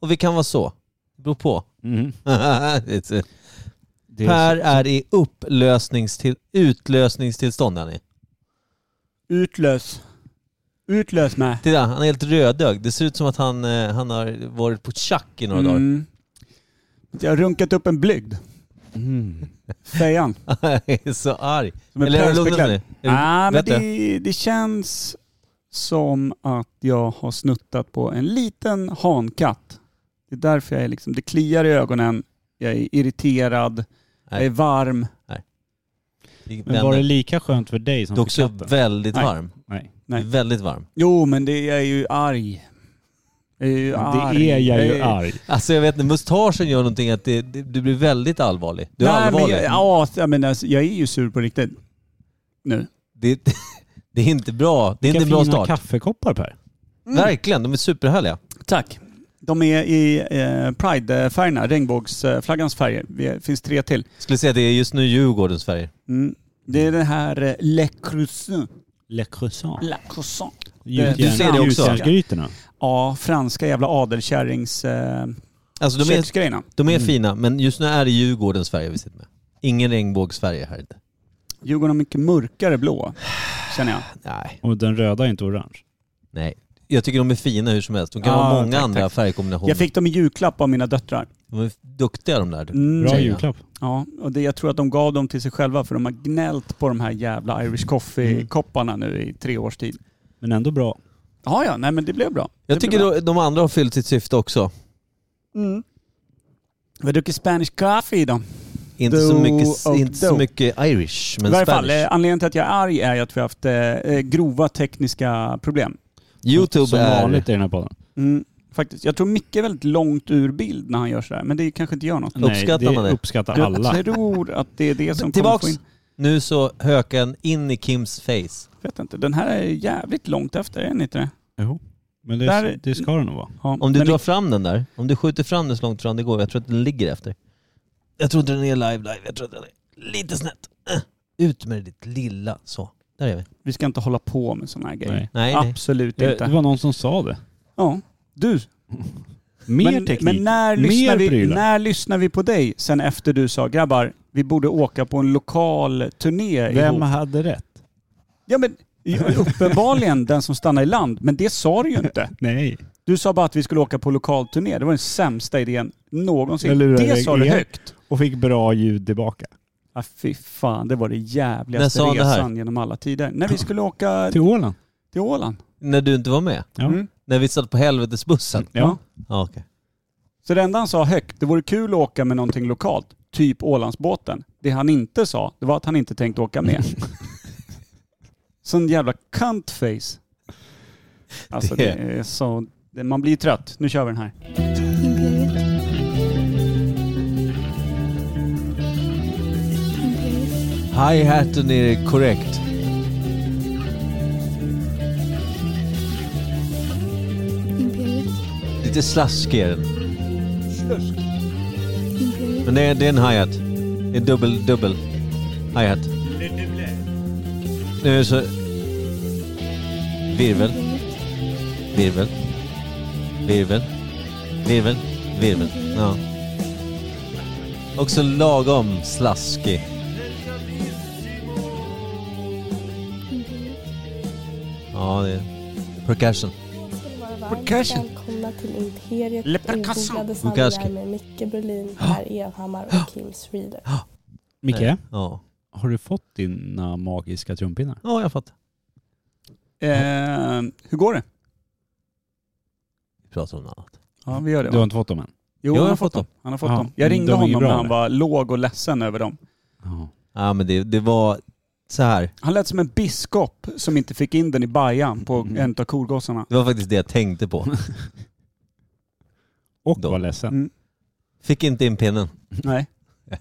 och vi kan vara så. Det beror på. Mm. Det är- Det är per är i upplösningstill, utlösningstillstånd. Han är. Utlös. Utlös med. Titta, han är helt rödögd. Det ser ut som att han, eh, han har varit på tjack i några dagar. Mm. Jag har runkat upp en blygd. så- Mm. Fejan. Han är så arg. Som en Eller är det lugnat pälsbeklädd. nu? Är det- Nej, men vet du? det, det känns som att jag har snuttat på en liten hankatt. Det är därför jag är liksom, det kliar i ögonen, jag är irriterad, jag Nej. är varm. Men Men var det lika skönt för dig som Du är för också katten? väldigt Nej. varm. Nej. Nej. Väldigt varm. Jo, men det, jag är ju arg. Jag är ju arg. Det är jag ju är- arg. Alltså jag vet inte, mustaschen gör någonting att det, det, du blir väldigt allvarlig. Du är Nej, men allvarlig. jag, ja, jag, menar, alltså, jag är ju sur på riktigt. Nu. Det, det är inte bra. Det är Vilka inte en bra fina start. kaffekoppar Per. Mm. Verkligen, de är superhärliga. Tack. De är i eh, Pride-färgerna, regnbågsflaggans färger. Det finns tre till. Skulle säga att det är just nu Djurgårdens färger. Mm. Det är den här eh, Le Croissant. Le Croissant. La Croissant. Gjutjärn- du ser det också. Gjutjärnsgrytorna. Ja, franska jävla adelkärrings... Eh, Alltså de är, köksgrejerna. de är fina, men just nu är det Djurgårdens färger vi sitter med. Ingen regnbågsfärger här inte. Djurgården har mycket mörkare blå, känner jag. Nej. Och den röda är inte orange. Nej. Jag tycker de är fina hur som helst. De kan Ja, ha många tack, andra tack. färgkombinationer. Jag fick dem i julklapp av mina döttrar. De är duktiga de där. Mm. Bra Säger jag. julklapp. Ja, och det, jag tror att de gav dem till sig själva för de har gnällt på de här jävla Irish Coffee-kopparna nu i tre års tid. Men ändå bra. Ja, ja, nej men det blev bra. Jag det tycker blev bra. då- de andra har fyllt sitt syfte också. Mm. Vi har druckit Spanish coffee idag. Inte, Do så mycket, och inte så do. mycket Irish, I men varje Spanish. fall, eh, anledningen till att jag är arg är ju att vi har haft eh, eh, grova tekniska problem. Youtube Som är... vanligt i den här podden. Mm. Faktiskt. Jag tror Micke är väldigt långt ur bild när han gör sådär, men det kanske inte gör något. Uppskattar Nej, det man det? uppskattar Jag alla. tror att det är det som kommer Tillbaks! få in... Nu så höken in i Kims face. Vet inte, den här är jävligt långt efter, är den inte det? Jo. Men det, Där- det ska det nog vara. Ja, Om du men- drar fram den där, om du skjuter fram den så långt fram det går, jag tror att den ligger efter. Jag tror inte den är live live, jag tror att den är lite snett. Eh, Ut med ditt lilla, så. Där är vi. Vi ska inte hålla på med sådana här grejer. Nej. Nej, nej. Absolut Det, inte. det var någon som sa det. Ja. Du, Mer men, teknik. men när, Mer lyssnar vi, prylar. när lyssnar vi på dig sen efter du sa grabbar, vi borde åka på en lokal turné Vem ihop? hade rätt? Ja men uppenbarligen den som stannar i land, men det sa du ju inte. Nej. Du sa bara att vi skulle åka på lokal turné. Det var den sämsta idén någonsin. Jag lurar Det dig sa du igen. högt. Och fick bra ljud tillbaka. Ja, fy fan, det var det När jävligaste sa han det här? resan genom alla tider. När vi skulle åka Till Åland. till Åland. När du inte var med? Ja. Mm. När vi satt på helvetesbussen? Ja. Ja, okej. Så det enda han sa högt, det vore kul att åka med någonting lokalt, typ Ålandsbåten. Det han inte sa, det var att han inte tänkte åka med. Sån jävla cuntface. Alltså det Det- är så... det- Man blir trött. Nu kör vi den här. Imperial. Imperial. Hi-haten är korrekt. Imperial. Lite slaskig är den. Imperial. Men det är, det är en hi-hat. Det är dubbel, dubbel hi-hat. Nu är det så... Virvel, virvel, virvel, virvel, virvel. Ja. Också lagom slaskig. Imperial. Ja, det är percussion. ska ni vara varmt Percussion. välkomna till Imperiet Le percussion. Ogooglade Percussion. sanningar med Micke Berlin, Per Evhammar och Kim Reader. Micke, Ja, har du fått dina magiska trumpinnar? ja jag fattar. Eh, hur går det? Vi pratar om något annat. Ja vi gör det Du har va? inte fått dem än? jag Jo, han har har fått fått dem. Han har fått Ja, dem. Jag ringde de är ju honom bra, när han eller? var låg och ledsen över dem. Ja. Ja, men det, det var så här. Han lät som en biskop som inte fick in den i bajan på Mm. en av korgossarna. Det var faktiskt det jag tänkte på. Och Då. var ledsen. Fick inte in pinnen. Nej.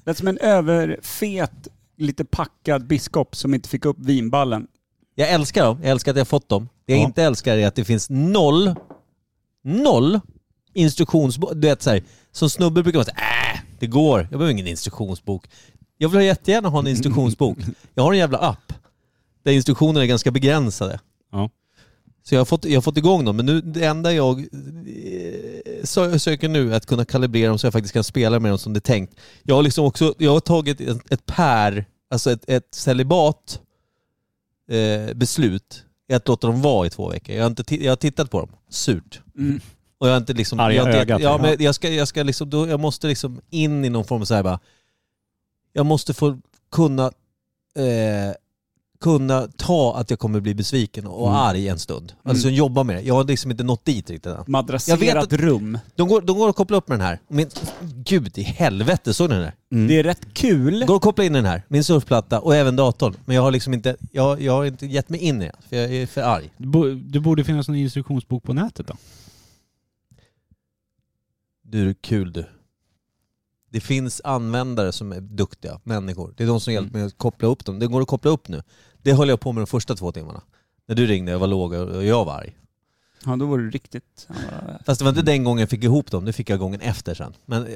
Lät som en överfet, lite packad biskop som inte fick upp vinballen. Jag älskar dem. Jag älskar att jag har fått dem. Det jag Ja. inte älskar är att det finns noll, noll instruktionsbok. Du vet så här, som snubbe brukar man säga äh, det går. Jag behöver ingen instruktionsbok. Jag vill jättegärna ha en instruktionsbok. Jag har en jävla app där instruktionerna är ganska begränsade. Ja. Så jag har fått, jag har fått igång dem, men nu, det enda jag eh, sö- söker nu att kunna kalibrera dem så jag faktiskt kan spela med dem som det är tänkt. Jag har liksom också, jag har tagit ett, ett pär, alltså ett, ett celibat eh, beslut i att låta dem vara i två veckor. Jag har, inte ti- jag har tittat på dem, surt. Mm. Och jag har inte liksom... Arga jag, har inte- ögat, ja, ja. men jag, ska, jag, ska liksom, då, jag måste liksom in i någon form av så här bara... Jag måste få kunna, eh, kunna ta att jag kommer bli besviken och Mm. arg en stund. Alltså jobba med det. Jag har liksom inte nått dit riktigt än. Madrasserat Jag vet att- rum. De går, de går att koppla upp med den här. Min, gud i helvete, såg ni den där? Det är rätt kul. Går att koppla in den här, min surfplatta och även datorn. Men jag har liksom inte, jag, jag har inte gett mig in i det. För jag är för arg. Det bo- Det borde finnas en instruktionsbok på nätet då. Du är kul du. Det finns användare som är duktiga människor. Det är de som Mm. hjälper mig att koppla upp dem. Det går att koppla upp nu. Det höll jag på med de första två timmarna. När du ringde, jag var låg och jag var arg. Ja, då var du riktigt... ja. Fast det var inte Mm. den gången jag fick ihop dem, det fick jag gången efter sen. Men eh,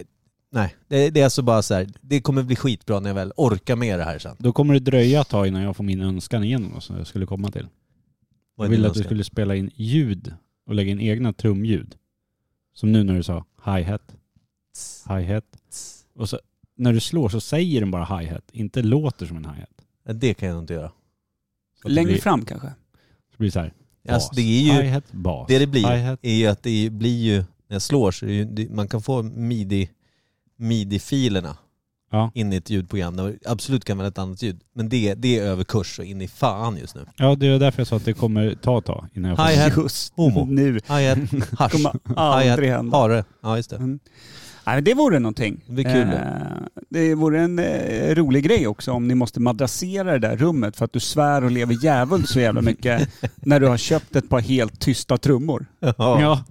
nej, det, det är alltså bara så här. det kommer bli skitbra när jag väl orkar med det här sen. Då kommer det dröja ett tag innan jag får min önskan igenom som jag skulle komma till. Vad Jag är din ville att du önskan? skulle spela in ljud och lägga in egna trumljud. Som nu när du sa hi-hat, hi-hat. Och så när du slår så säger den bara hi-hat, inte låter som en hi-hat. Nej, Det kan jag nog inte göra. Så att det Längre blir, fram kanske. Så blir det så här, bas, Alltså, det är ju, hi-hat, bas. det det blir Hi-hat. är ju att det blir ju, när jag slår så är det ju, det- man kan få midi, midi-filerna Ja. in i ett ljudprogram där man absolut kan välja ett annat ljud. Men det, det är över kurs och in i fan just nu. ja, det är därför jag sa att det kommer ta ett tag innan jag får... Hi-hat. Just Homo. nu. Hi-hat, hasch, kommer aldrig hi-hat, hända. hare. Ja just det. Mm. Nej, men det vore någonting. Det blir kul då. Eh, det vore en eh, rolig grej också om ni måste madrassera det där rummet för att du svär och lever djävul så jävla mycket när du har köpt ett par helt tysta trummor. Ja. Ja,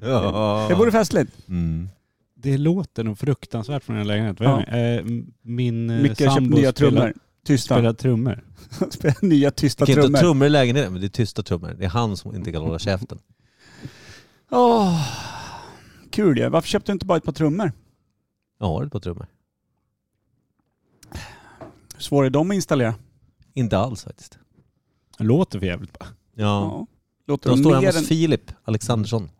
Ja. Det vore festligt. Mm. det låter nog fruktansvärt från den här lägenheten. Vad är det? Eh, m- Min eh, Micke har köpt sambo nya spelar, trummor. Tysta. spelar trummor. Spelar nya tysta Det kan inte ha trummor. trummor i lägenheten, men det är tysta trummor. Det är han som inte kan hålla käften. Åh, Kul ju. Varför köpte du inte bara ett par trummor? Jag har ett par trummor. Hur svåra är de att installera? Inte alls faktiskt. Det låter för jävligt bara. Ja. Ja. Låter De de står mer hemma än... hos Filip Alexandersson.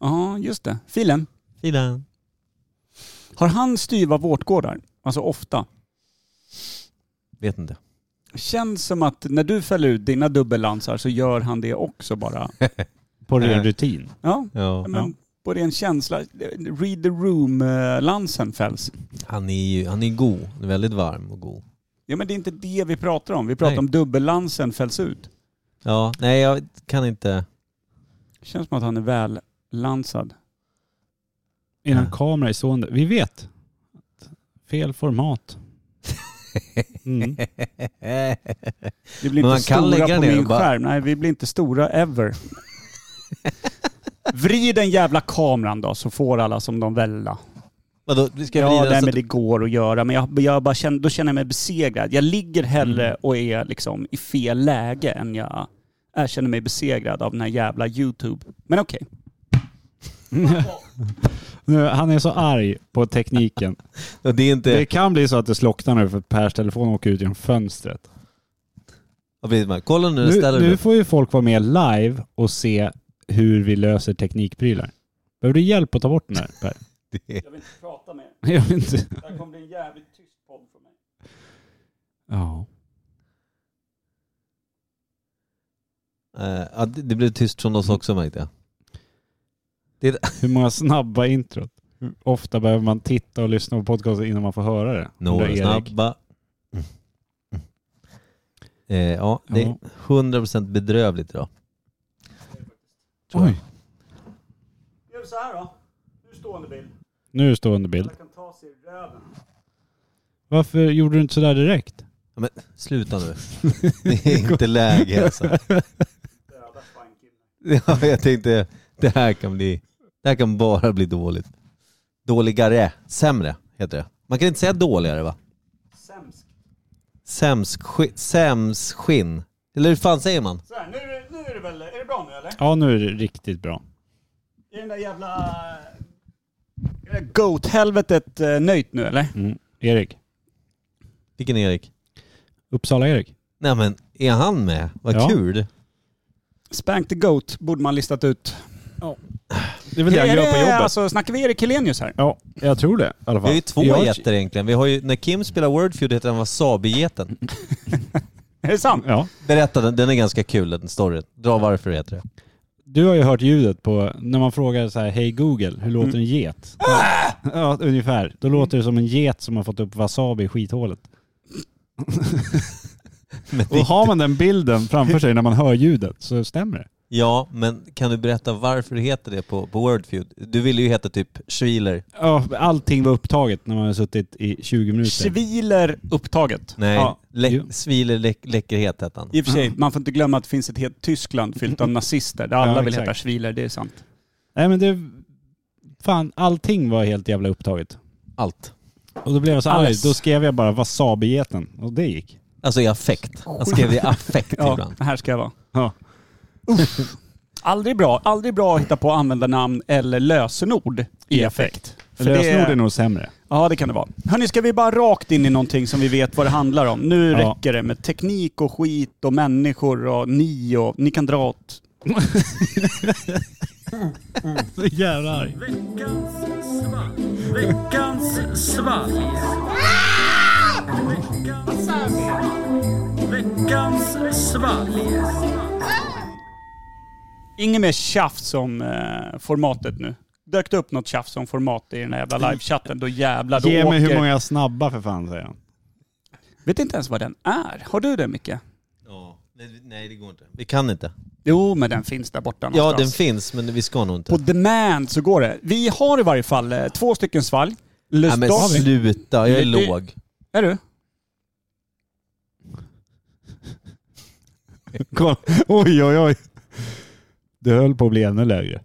Ja, just det. Filen. Filen. Har han styva vårtgårdar? Alltså ofta? Vet inte. Känns som att när du fäller ut dina dubbellandsar så gör han det också bara. På ren Eh. rutin. Ja, Ja. men på ren känsla. Read the room-lansen fälls. Han är ju han är god. Han är väldigt varm och god. Ja men det är inte det vi pratar om. Vi pratar Nej. om dubbellansen fälls ut. Ja, nej jag kan inte. Känns som att han är vällansad. Innan Ja. kamera är stående. Vi vet. att Fel format. Mm. Vi blir Men inte man kan stora lägga på ner min och bara- skärm. Nej, vi blir inte stora ever. Vrid den jävla kameran då så får alla som de välla. Vadå, vi ska Ja, vrida nej, så men att... det går att göra. Men jag, jag bara känner, då känner jag mig besegrad. Jag ligger hellre och är liksom i fel läge än jag jag känner mig besegrad av den här jävla YouTube. Men okej. Nu, han är så arg på tekniken. Ja, Det är inte... Det kan bli så att det slocknar nu för Pers telefon åker ut genom fönstret. Vad blir det med? Kolla nu, Nu, ställer nu du. får ju folk vara med live och se hur vi löser teknikprylar. Behöver du hjälp att ta bort den där Per? Jag vill inte prata mer. Jag vet inte. Det här kommer bli en jävligt tyst podd för mig. Ja. Eh, ja, det det blev tyst från oss också märkte jag. Hur många snabba introt? Hur ofta behöver man titta och lyssna på podcasten innan man får höra det? Undrar Några Erik. snabba. Mm. Eh, ja, det är Ja. 100% bedrövligt idag. Tror jag. Oj, Gör så här då. Nu stående bild. nu är det stående bild. kan ta sig i röven. Varför gjorde du inte sådär direkt? Ja, men, sluta nu. Det är inte läge alltså. Ja, jag tänkte, det här kan bli, det här kan bara bli dåligt. Dåligare, sämre heter det. Man kan inte säga dåligare va? Sämst. Sämsskinn. Sämsskinn. Eller hur fan säger man? Så här, nu, nu är det väl... Är det bra nu eller? Ja, nu är det riktigt bra. Är den där jävla... Goat-helvetet eh, nöjt nu eller? Mm. Erik. Vilken Erik? Uppsala-Erik. Nej men, är han med? Vad Ja. kul. Spank the Goat borde man listat ut. Det är väl det han Är gör på det- jobbet. Alltså, snackar vi Erik Helenius här? Ja, jag tror det i alla Vi fall. har ju två jag, getter egentligen. Vi har ju, när Kim spelar Wordfeud heter han Wasabi-geten. Är det sant? Ja. Berätta den, den är ganska kul den storyn. Dra varför det heter det. Du har ju hört ljudet på när man frågar så här, hej Google, hur låter en get? Ja, ungefär. Då låter det som en get som har fått upp wasabi i skithålet. Men Och det har man den bilden framför sig när man hör ljudet så stämmer det. ja, men kan du berätta varför det heter det på, på Wordfeud? Du ville ju heta typ Schwiler. Ja, allting var upptaget när man har suttit i 20 minuter. Sviler upptaget. Nej, Ja, lä, jo. Schwiler lä, läckerhet hette han. I och för sig, man får inte glömma att det finns ett helt Tyskland fyllt av nazister där alla Mm. Ja, vill exakt. heta Schwiler, det är sant. Nej men det... Fan, allting var helt jävla upptaget. Allt. Och då blev jag så arg. Alles. Då skrev jag bara wasabigeten och det gick. Alltså i affekt. Han skrev i affekt Ja, ibland. här ska jag vara. Ja. Uff. Aldrig bra, aldrig bra att hitta på användarnamn eller lösenord i affekt. För det- Lösenord är nog sämre. Ja, det kan det vara. Hörni, ska vi bara rakt in i någonting som vi vet vad det handlar om? Nu Ja. räcker det med teknik och skit och människor och ni och ni kan dra åt... Så jävla arg. Inget mer tjafs om eh, formatet nu. Dök det upp något tjafs om format i den här jävla livechatten, då jävlar, då Ge åker... mig hur många snabba för fan säger han. Vet inte ens vad den är. Har du det Micke? Ja. Nej, nej, det går inte. Vi kan inte. Jo, men den finns där borta Ja, någonstans. den finns, men vi ska nog inte. På demand så går det. Vi har i varje fall eh, två stycken svalg. Nej, men Lustdal. sluta, jag är Det- låg. Är du? Kolla. Oj oj oj. Det höll på att bli ännu lägre.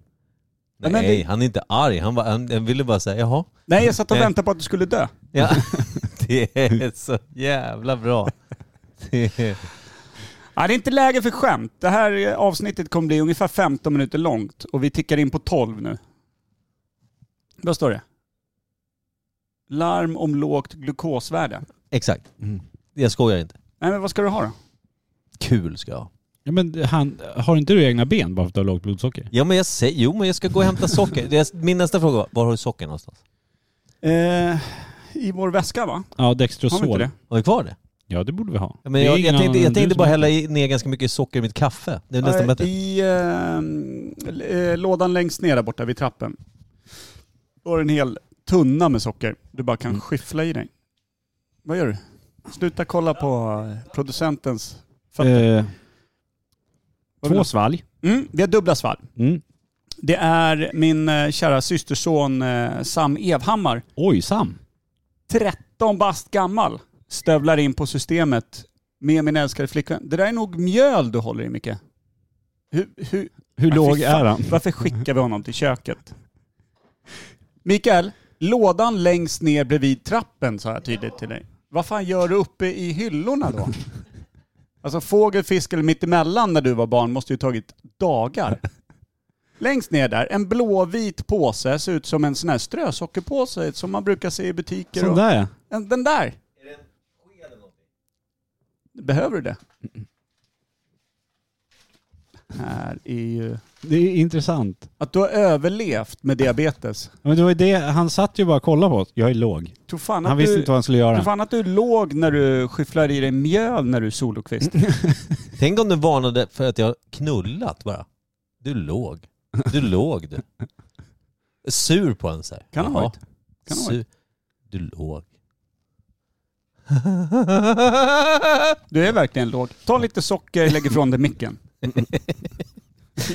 Nej, men det- han är inte arg. Han, bara, han, han ville bara säga jaha. Nej, jag satt och Nej. väntade på att du skulle dö. Ja. Det är så jävla bra. Det är- Nej, det är inte läge för skämt. Det här eh, avsnittet kommer bli ungefär 15 minuter långt och vi tickar in på 12 nu. Vad står det? Larm om lågt glukosvärde. Exakt. Jag skojar inte. Nej, men vad ska du ha då? Kul ska jag ha. Ja, men han, har inte du egna ben bara för att du har lågt blodsocker? Ja men jag säger, jo men jag ska gå och hämta socker. Det är, min nästa fråga var, var har du socker någonstans? Eh, I vår väska va? Ja, Har vi Dextrosol. inte det? Har du kvar det? Ja, det borde vi ha. Ja, men Det är jag, ingen jag tänkte, annan jag än du tänkte som bara har- hälla i- ner ganska mycket socker i mitt kaffe. Det är nästan Eh, bättre. I eh, eh, lådan längst ner där borta vid trappen. Då har du en hel tunna med socker du bara kan Mm. skyffla i dig. Vad gör du? Sluta kolla på eh, producentens fötter. Eh, Vad vill två du? svalg. Mm, vi har dubbla svalg. Mm. Det är min eh, kära systerson eh, Sam Evhammar, Oj, Sam. 13 bast gammal, stövlar in på systemet med min älskade flickvän. Det där är nog mjöl du håller i Micke. Hur, hur, Hur Ja, låg fy fan. är han? varför skickar vi honom till köket? Mikael, lådan längst ner bredvid trappen sa jag tydligt till dig. Vad fan gör du uppe i hyllorna då? Alltså fågel, fisk eller mittemellan när du var barn måste ju tagit dagar. Längst ner där, en blåvit påse, ser ut som en sån här strösockerpåse som man brukar se i butiker. Sån Och, där ja. En- Den där! Behöver du det? Här är ju... Det är intressant. Att du har överlevt med diabetes. Ja, Men det var ju det, han satt ju bara och kollade på oss. Jag är låg. Tror fan att Han visste du, inte vad han skulle göra. tror fan att du låg när du skyfflar i dig mjöl när du är solokvist. Tänk om du varnade för att jag knullat bara. Du låg. Du låg du. Sur på en så här. Kan ha Jaha. varit. Kan ha Sur. varit. Du låg. Du är verkligen låg. Ta lite socker, lägg ifrån dig micken.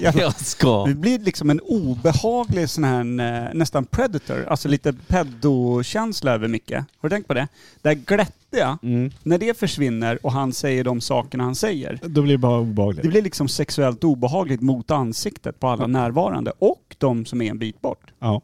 Jävla- Jag ska. Det blir liksom en obehaglig sån här eh, nästan predator, alltså lite pedokänsla över Micke. Har du tänkt på det? Det här glättiga, Mm. när det försvinner och han säger de sakerna han säger, Då blir det bara det obehagligt. blir liksom sexuellt obehagligt mot ansiktet på alla närvarande och de som är en bit bort. Ja.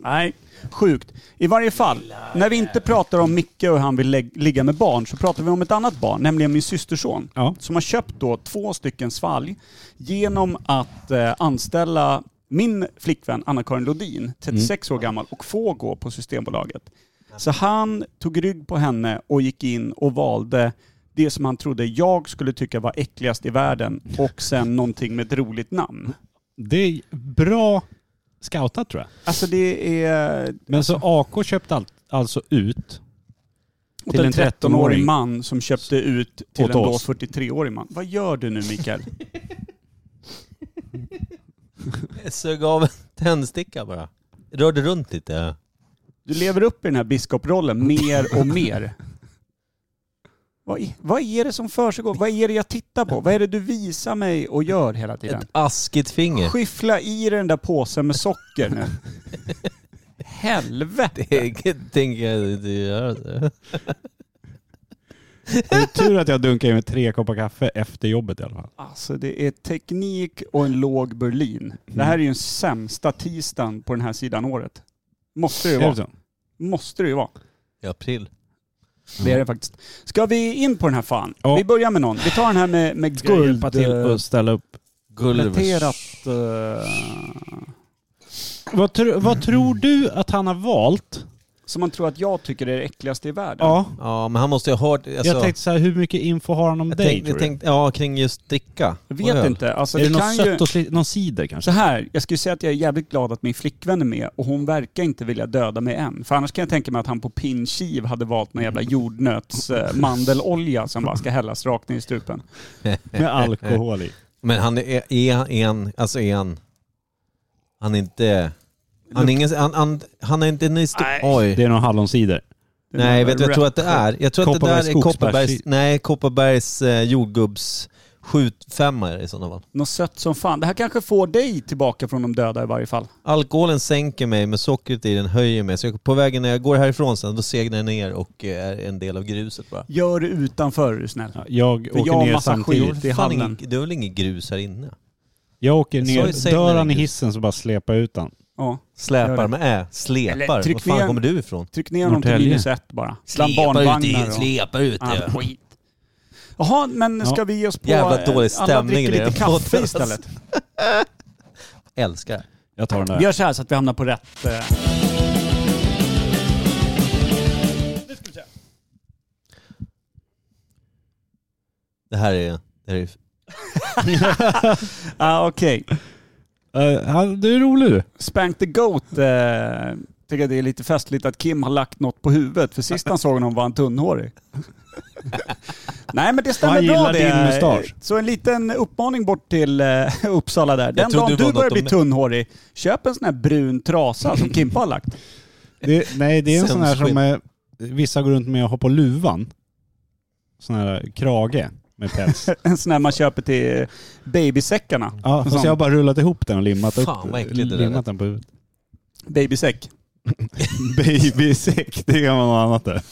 Nej, sjukt. I varje fall, när vi inte pratar om Micke och hur han vill lä- ligga med barn så pratar vi om ett annat barn, nämligen min systerson. Ja. Som har köpt då två stycken svalg genom att eh, anställa min flickvän Anna-Karin Lodin, 36 Mm. år gammal, och få gå på Systembolaget. Så han tog rygg på henne och gick in och valde det som han trodde jag skulle tycka var äckligast i världen och sen någonting med ett roligt namn. Det är bra scoutat tror jag. Alltså det är Men så AK köpte allt, alltså ut till en 13-årig 13-åring. man som köpte ut till en Åt då oss. 43-årig man. Vad gör du nu Mikael? Jag sög av en tändsticka bara. Rörde runt lite. Du lever upp i den här biskoprollen mer och mer. Vad är, vad är det som försiggår? Vad är det jag tittar på? Vad är det du visar mig och gör hela tiden? Ett askigt finger. Skyffla i den där påsen med socker nu. Helvete! Det tänker jag inte göra. Det är tur att jag dunkar i mig tre koppar kaffe efter jobbet i alla fall. Alltså det är teknik och en låg Berlin. Det här är ju den sämsta tisdagen på den här sidan året. Måste det ju Är det vara. så? Måste det ju vara. I april. Det är det faktiskt. Ska vi in på den här fan? Ja. Vi börjar med någon. Vi tar den här med, med Ska jag hjälpa till guld... att ställa upp? Gulliver. Relaterat... eh, Vad, tro, vad tror du att han har valt? som man tror att jag tycker är det äckligaste i världen. Ja, Ja, men han måste ju ha hört... Alltså, jag tänkte så här, hur mycket info har han om jag dig tänkte- tror jag tänkte- ja, kring just dricka. Och Jag vet öl. inte. Alltså, du? Är det, det något kan ju... sött och sli- någon cider Så kanske? här, jag skulle säga att jag är jävligt glad att min flickvän är med och hon verkar inte vilja döda mig än. För annars kan jag tänka mig att han på pin kiv hade valt någon jävla jordnötsmandelolja som bara ska hällas rakt ner i strupen. Med alkohol i. Men han är, är är en... Alltså är han... Han är inte... Han är, ingen, han, han, han är inte en Nej. historia... Oj. Det är någon hallonsider. Det är Nej, någon vet du vad jag tror att det rap- är? Jag tror att det Kopparbergs där är Kopparbergs, skogsbärs- nej, Kopparbergs eh, jordgubbs skjutfemmor i sådana fall. Något sött som fan. Det här kanske får dig tillbaka från de döda i varje fall. Alkoholen sänker mig men sockret i den höjer mig. Så jag, på vägen när jag går härifrån sen då segnar jag ner och eh, är en del av gruset bara. Gör det utanför är du snäll. Ja, Jag För åker jag har ner massa samtidigt. skit. Det är Fan, hallen. ingen, det är väl ingen grus här inne? Jag åker sa ju ner. säg när Dör det han i är grus. hissen så bara släpa ut han. Ja. Gör Släpar det. med ä, släpar. Eller tryck Var fan ner- kommer du ifrån? Tryck ner honom till Norrtälje. minus ett bara. Bland barnvagnar och släpar ut annat skit. Jaha, men ska Ja. vi ge oss på... eh, Jävla dålig Alla stämning dricker i lite den här kaffe podden, istället. Älskar. Jag tar den Vi där. gör så här så att vi hamnar på rätt... eh, Det här är... Det här är Ah, Okej. Eh, han- du är rolig du. Spank the Goat. Eh, tycker jag det är lite festligt att Kim har lagt något på huvudet. För sist han såg honom var han tunnhårig. Nej men det stämmer Han bra gillar det. din mustasch. Så en liten uppmaning bort till eh, Uppsala där. Den trodde det dagen du var börjar något bli om- tunnhårig, köp en sån här brun trasa som Kimpa har lagt. Det, nej, det är en sån här Sämst som eh, vissa går runt med och har på luvan. Sån här krage med päls. En sån här man köper till babysäckarna. Ja, En fast sån jag har bara rullat ihop den och limmat, Fan, upp, vad äckligt det där limmat den på huvudet. Babysäck. Babysäck, det kan vara något annat det.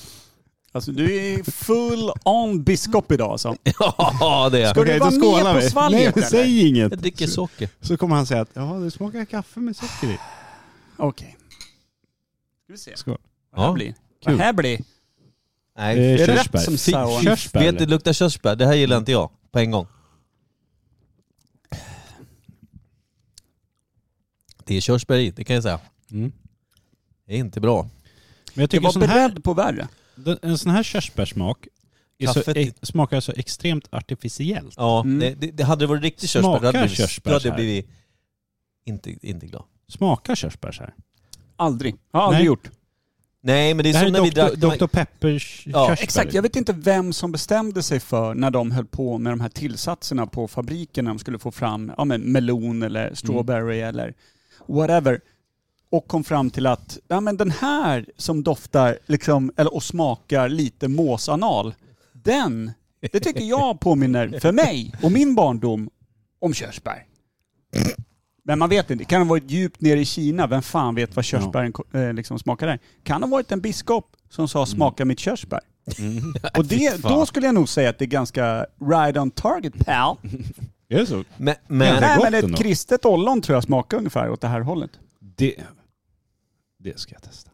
Alltså du är full on biskop idag alltså. ja, det är Ska jag. du vara med på svalget Nej, men eller? säg inget. Jag dricker socker. Så kommer han säga att ja, det smakar kaffe med socker i. Okej. Ska vi se Skål. vad det här Ja, blir. kul. Vad det här blir. Nej, Eh, Är det Körsbär. rätt som Fy- Sauron? fy- Körsbär, Vet eller? du, det luktar körsbär. Det här gillar inte jag på en gång. Det är körsbär i, det kan jag säga. Mm. Det är inte bra. Men jag Jag tycker var sån här, beredd på värre. den- en sån här körsbärssmak är så, Kaffet- e, smakar så extremt artificiellt. Ja, Mm. det, det, det hade det varit riktig körsbär, Smakar då hade jag blivit- körsbär då hade så här? jag blivit inte, inte glad. Smakar körsbär så här? Aldrig. Har aldrig Nej. gjort. Nej, men det är Det, här som när vi är drack... Dr. Dr. Peppers Ja, körsbär. Exakt, jag vet inte vem som bestämde sig för när de höll på med de här tillsatserna på fabriken när de skulle få fram ja, men melon eller strawberry eller whatever. Och kom fram till att ja, men den här som doftar liksom, eller, och smakar lite måsanal, den, det tycker jag påminner för mig och min barndom om körsbär. Men man vet inte, det kan ha varit djupt nere i Kina, vem fan vet vad körsbären ko- eh, liksom smakar där. Kan ha varit en biskop som Mm. sa smaka mitt körsbär. Och det, fan. då skulle jag nog säga att det är ganska right on target pal. Är det så? Men, Ja, men, det är Nej gott men ett ändå. kristet ollon tror jag smakar ungefär åt det här hållet. Det, det ska jag testa.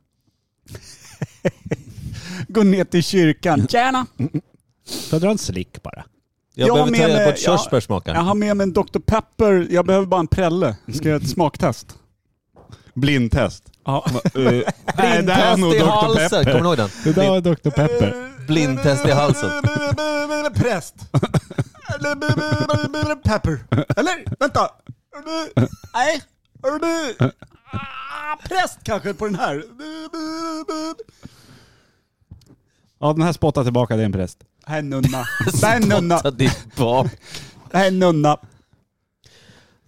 Gå ner till kyrkan, tjena! Får jag dra en slick bara? jag jag behöver med ta reda mig- på att jag- körsbär smakar. Jag har med mig en Dr Pepper, jag behöver bara en prälle. Ska jag göra ett smaktest? Blindtest. Ja. Nej, det här är nog Blindtest i Dr. halsen, kommer Pepper. ni ihåg den? Det där var Dr. Pepper. Blindtest i halsen. Präst. Pepper. Eller vänta. Nej, Hör du? Äh. Ah, Präst kanske på den här. Ja, den här spottar tillbaka, det är en präst. Här är en nunna. Det här är en nunna. Ta ditt bak. Det här är en nunna.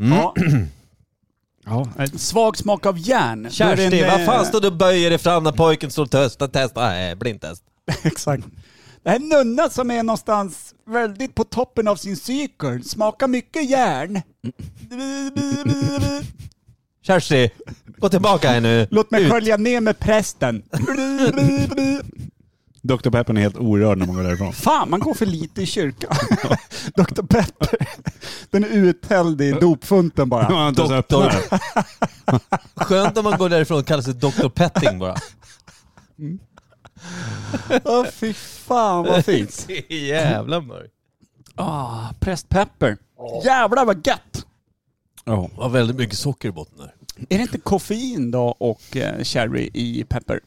Mm. Ja. Ja, nej, Svag smak av järn. Då är Kerstin, det en, vad fan eh, står du och böjer dig fram när pojken står och testar, testar, nej, blindtest. Exakt. Det här är en nunna som är någonstans väldigt på toppen av sin cykel. Smakar mycket järn. Kerstin, gå tillbaka här nu. Låt mig skölja ner med prästen. Dr Pepper är helt orörd när man går därifrån. Fan, man går för lite i kyrkan. Dr Pepper, den är uthälld i dopfunten Man bara. har inte ens öppnat Doktor. den. Skönt om man går därifrån och kallar sig Dr Petting bara. Åh fy fan vad fint. Det är jävla mörkt. Ah, präst Pepper. Jävlar vad gött! Ja. Det var väldigt mycket socker i botten där. Är det inte koffein då och eh, sherry i pepper?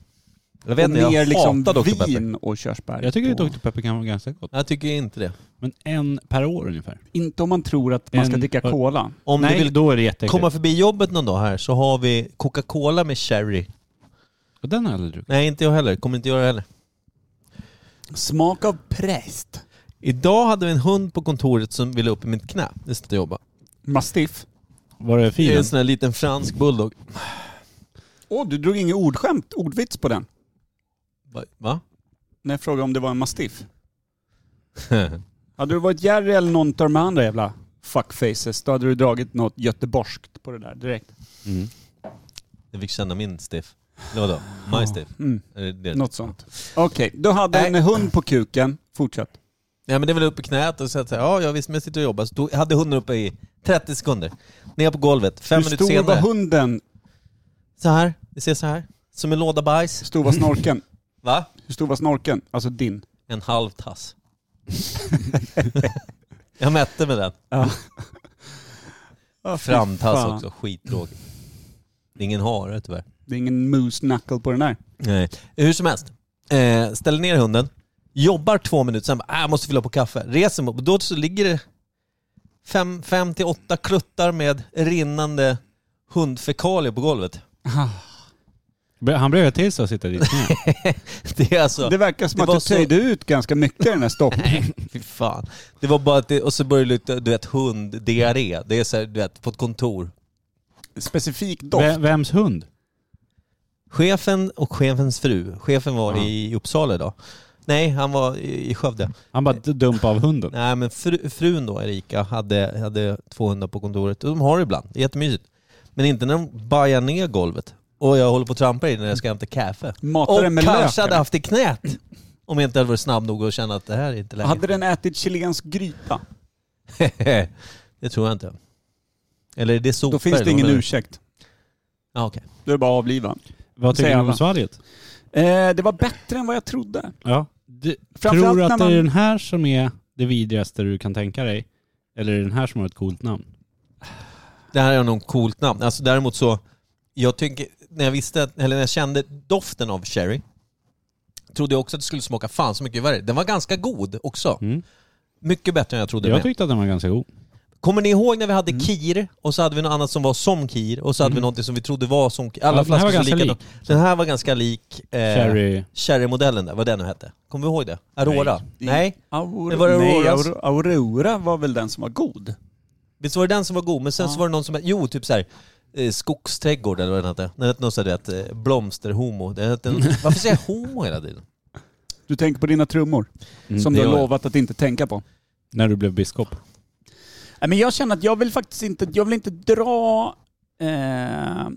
Jag vet inte, och mer jag liksom hatar Dr Pepper. vin och körsbär. Jag tycker på. att Dr Pepper kan vara ganska gott. Jag tycker inte det. Men en per år ungefär. Inte om man tror att man ska En- dricka cola. Om Nej, du vill då är det jätteäckligt. komma förbi jobbet någon dag här så har vi Coca-Cola med sherry. Och den har jag aldrig druckit. Nej, inte jag heller. Kommer inte göra det heller. Smak av präst. Idag hade vi en hund på kontoret som ville upp i mitt knä. Det slutar jobba. Mastiff. Var det Det är fin? en sån här liten fransk bulldog. Åh, du drog inget ordskämt, ordvits på den. Va- Va? När jag frågade om det var en mastiff. Hade du varit Jerry eller någon av de andra jävla fuckfaces, då hade du dragit något göteborgskt på det där direkt. Mm. Jag fick känna min stiff. Eller vadå? My stiff? Mm, Är det det? något sånt. Okej, du hade en hund på kuken. Fortsätt. Ja men det är väl uppe i knät och så att säga, ja jag visst men jag sitter och jobbar. Så då hade hunden uppe i 30 sekunder. Ner på golvet, fem Hur minuter stor var senare. hunden? Så här, ni ser så här. Som en låda bajs. Hur stor var snorken? Va? Hur stor var snorken? Alltså din. En halv tass. jag mätte med den. Oh, Framtass också, skitlåg. Det är ingen hare tyvärr. Det är ingen moose knuckle på den där. Nej. Hur som helst, eh, ställer ner hunden, jobbar två minuter, sen bara, "Ah, jag måste fylla på kaffe. Reser mig upp, och då så ligger det fem, fem till åtta kluttar med rinnande hundfekalier på golvet. Han bröt till sig och sitta dit. Det är alltså... Det verkar som Det att var du så- töjde ut ganska mycket i den här stoppen. Fy fan. Det var bara att det, och så började det lukta, du vet, hunddiarré. Det är så här, du vet, på ett kontor. Specifik doft. Ve- Vems hund? Chefen och chefens fru. Chefen var Ja. i Uppsala idag. Nej, han var i i Skövde. Han bara dumpade av hunden. Nej, men fru, frun då, Erika, hade, hade två hundar på kontoret. Och de har det ibland. Det är jättemysigt. Men inte när de bajar ner golvet och jag håller på att trampa i det när jag ska hämta kaffe. Matade Och den med kanske lök. hade eller? haft i knät. Om jag inte hade varit snabb nog att känna att det här är inte läge. Hade den ätit chilensk gryta? det tror jag inte. Eller är det sopor? Då finns det eller ingen vad är? ursäkt. Ja, okej. Då är det bara att avliva. Vad tycker Säger du om alla. svalget? Eh, det var bättre än vad jag trodde. Ja. Du, Framförallt tror du när att det man- är den här som är det vidrigaste du kan tänka dig? Eller är det den här som har ett coolt namn? Det här är nog ett coolt namn. Alltså däremot så, jag tycker, när jag visste, att- eller när jag kände doften av sherry, trodde jag också att det skulle smaka fan så mycket värre. Den var ganska god också. Mm. Mycket bättre än jag trodde. Jag med. tyckte att den var ganska god. Kommer ni ihåg när vi hade kir och så hade vi något annat som var som kir och så hade Mm. vi något som vi trodde var som kir. Alla Ja, den här flaskor var såg ganska likadana Den här var ganska lik eh, Cherry... sherrymodellen där, vad den nu hette. Kommer vi ihåg det? Aurora? Nej. Aurora. Det var Nej, Auroras. Aurora, Aurora var väl den som var god? Visst var det den som var god? Men sen Ja. så var det någon som, jo typ såhär, eh, skogsträdgård eller vad den hette. Den hette någon sån där, du vet, eh, blomsterhomo. Den hette, varför säger jag homo hela tiden? Du tänker på dina trummor, som Mm, det du har gör jag. lovat att inte tänka på. Mm. När du blev biskop. Nej, men jag känner att jag vill faktiskt inte, jag vill inte dra eh,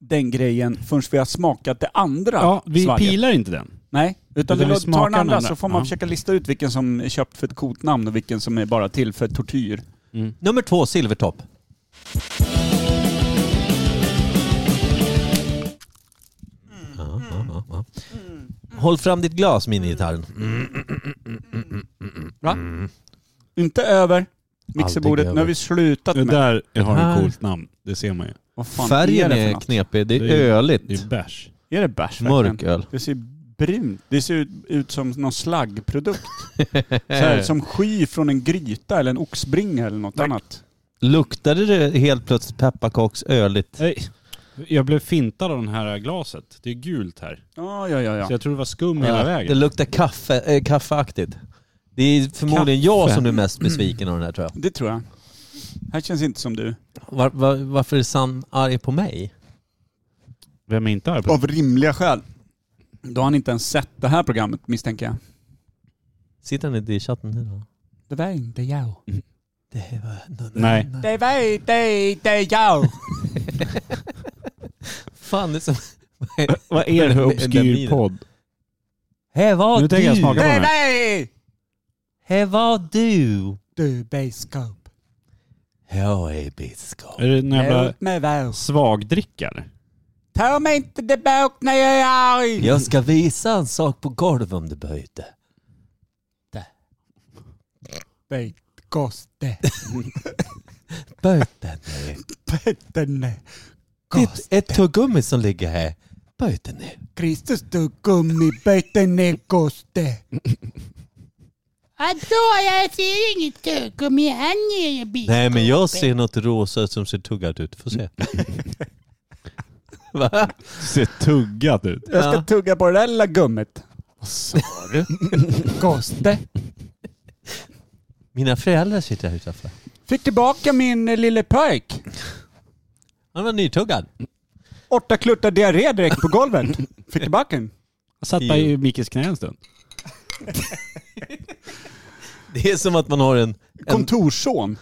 den grejen förrän vi har smakat det andra Ja, vi svalget. pilar inte den. Nej, utan Utan vi vi tar smakar den andra den så andra. får man Ja. försöka lista ut vilken som är köpt för ett kotnamn och vilken som är bara till för tortyr. Nummer två, silvertopp. Ja, ja, ja, ja. Håll fram ditt glas, minigitarren. Inte över mixerbordet, Aldrig nu har vi slutat Det med... där har Här. ett coolt namn. Det ser man ju. Vad fan Färgen är det är, för något? knepig. Det är, Det är- Det öligt. är bärs. Är det bärs verkligen? Mörk öl. Det ser brunt. Det ser ut, ut som någon slaggprodukt. Så här, som sky från en gryta eller en oxbringa eller något annat. Luktade det helt plötsligt pepparkaks öligt? Nej. Jag blev fintad av det här glaset. Det är gult här. Ja, ja, ja. Så ja. jag tror det var skum hela Det vägen. luktar kaffe, äh, kaffeaktigt. Det är förmodligen jag Kaffe. Mm. som är mest besviken av den här tror jag. Det tror jag. Här känns inte som du. Var, var, varför är Sam arg på mig? Vem är inte arg på? Av rimliga skäl. Då har han inte ens sett det här programmet misstänker jag. Sitter han inte i chatten nu då? Det var inte jag. Det var, Nej. Det var inte jag. Fan, det är som... Vad är det för obskyr podd? Här var Nu tänker jag smaka på den här. var Här var du. du biskop. Jag är biskop. Är det en jävla mig väl. svagdrickare? Ta mig inte tillbaka när jag är arg. Jag ska visa en sak på golvet om du böjde. Koste. Böjden nu. Petterne. Det är ett- ett tuggummi som ligger här. Böjden nu. Kristus du gummi. Petterne koste. Alltså, jag ser inget eh, tuggummi. Han är en bit. Nej men jag ser något rosa som ser tuggat ut. Får Mm. se. Va? Ser tuggat ut. Jag ska Ja. tugga på det där lilla gummit. Koste. Mina föräldrar sitter här utanför. Fick tillbaka min eh, lille pojk. Han var nytuggad. Åtta kluttar diarré direkt på golvet. Fick tillbaka den. Jag satt bara i Mickes knä en stund. Det är som att man har en... en Kontorsson.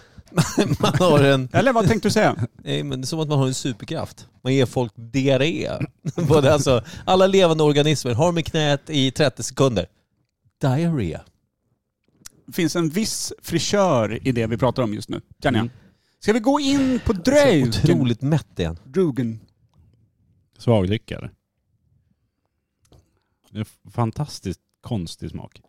man har en Eller vad tänkte du säga? nej, men det är som att man har en superkraft. Man ger folk diarré. Både alltså, alla levande organismer har med knät i 30 sekunder. Diarré. finns en viss frisör i det vi pratar om just nu, känner jag. Mm. Ska vi gå in på Så Dröjken? otroligt mätt igen. Drugen. Svagdrickare. Det är en fantastiskt konstig smak.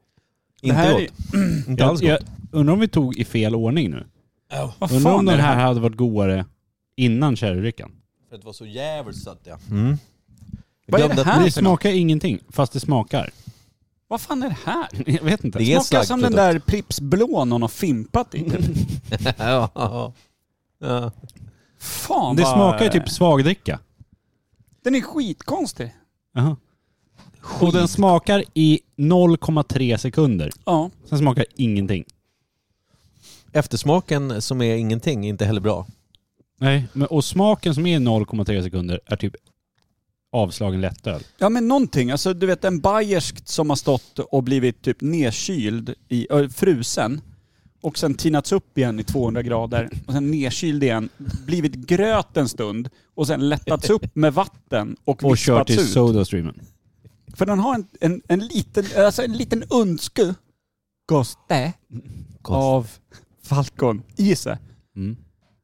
Det här Inte är- gott. Inte Jag, alls gott. jag undrar om vi tog i fel ordning nu. Vad Undrar om fan är den det här? här hade varit godare innan sherrydrickan. För att vara så jävligt satt jag. Mm. Vad är glömde det att- här? Det smakar ingenting, fast det smakar. Vad fan är det här? Jag vet inte. Det är Smakar som den slaggprodukt. där Pripps blå någon har fimpat i. typ. ja, ja, ja. Fan Det vad- smakar ju typ svagdricka. Den är skitkonstig. Jaha. Och den smakar i 0,3 sekunder. Ja. Sen smakar ingenting. Eftersmaken som är ingenting är inte heller bra. Nej, men, och smaken som är i 0,3 sekunder är typ avslagen lättöl. Ja men någonting, alltså du vet en bayerskt som har stått och blivit typ nedkyld, i, ö, frusen och sen tinats upp igen i 200 grader och sen nedkyld igen, blivit gröt en stund och sen lättats upp med vatten och, Och vispats kört i ut. Sodastreamen. För den har en, en, en liten, alltså en liten önsku. Goste. Av Falcon i sig. Mm.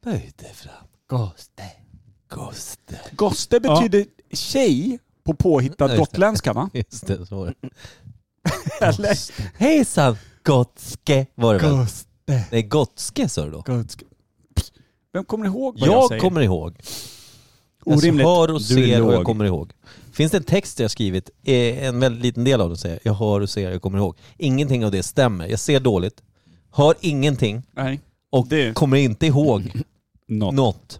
Böj dig fram. Goste. Koste. Goste Ja. betyder tjej på påhittad Ja, just det. gotländska va? Just det, så var det. Eller? Hejsan! Gotske var det väl? Goste. Nej, Gotske sa du då? Gotske. Vem kommer ihåg vad jag, Jag säger? kommer ihåg. Jag Orimligt. hör och Du är ser och jag låg. kommer ihåg. Finns det en text jag skrivit, eh, en väldigt liten del av den säger jag hör och ser och jag kommer ihåg. Ingenting av det stämmer. Jag ser dåligt, hör ingenting Nej. och Det- kommer inte ihåg Något. något.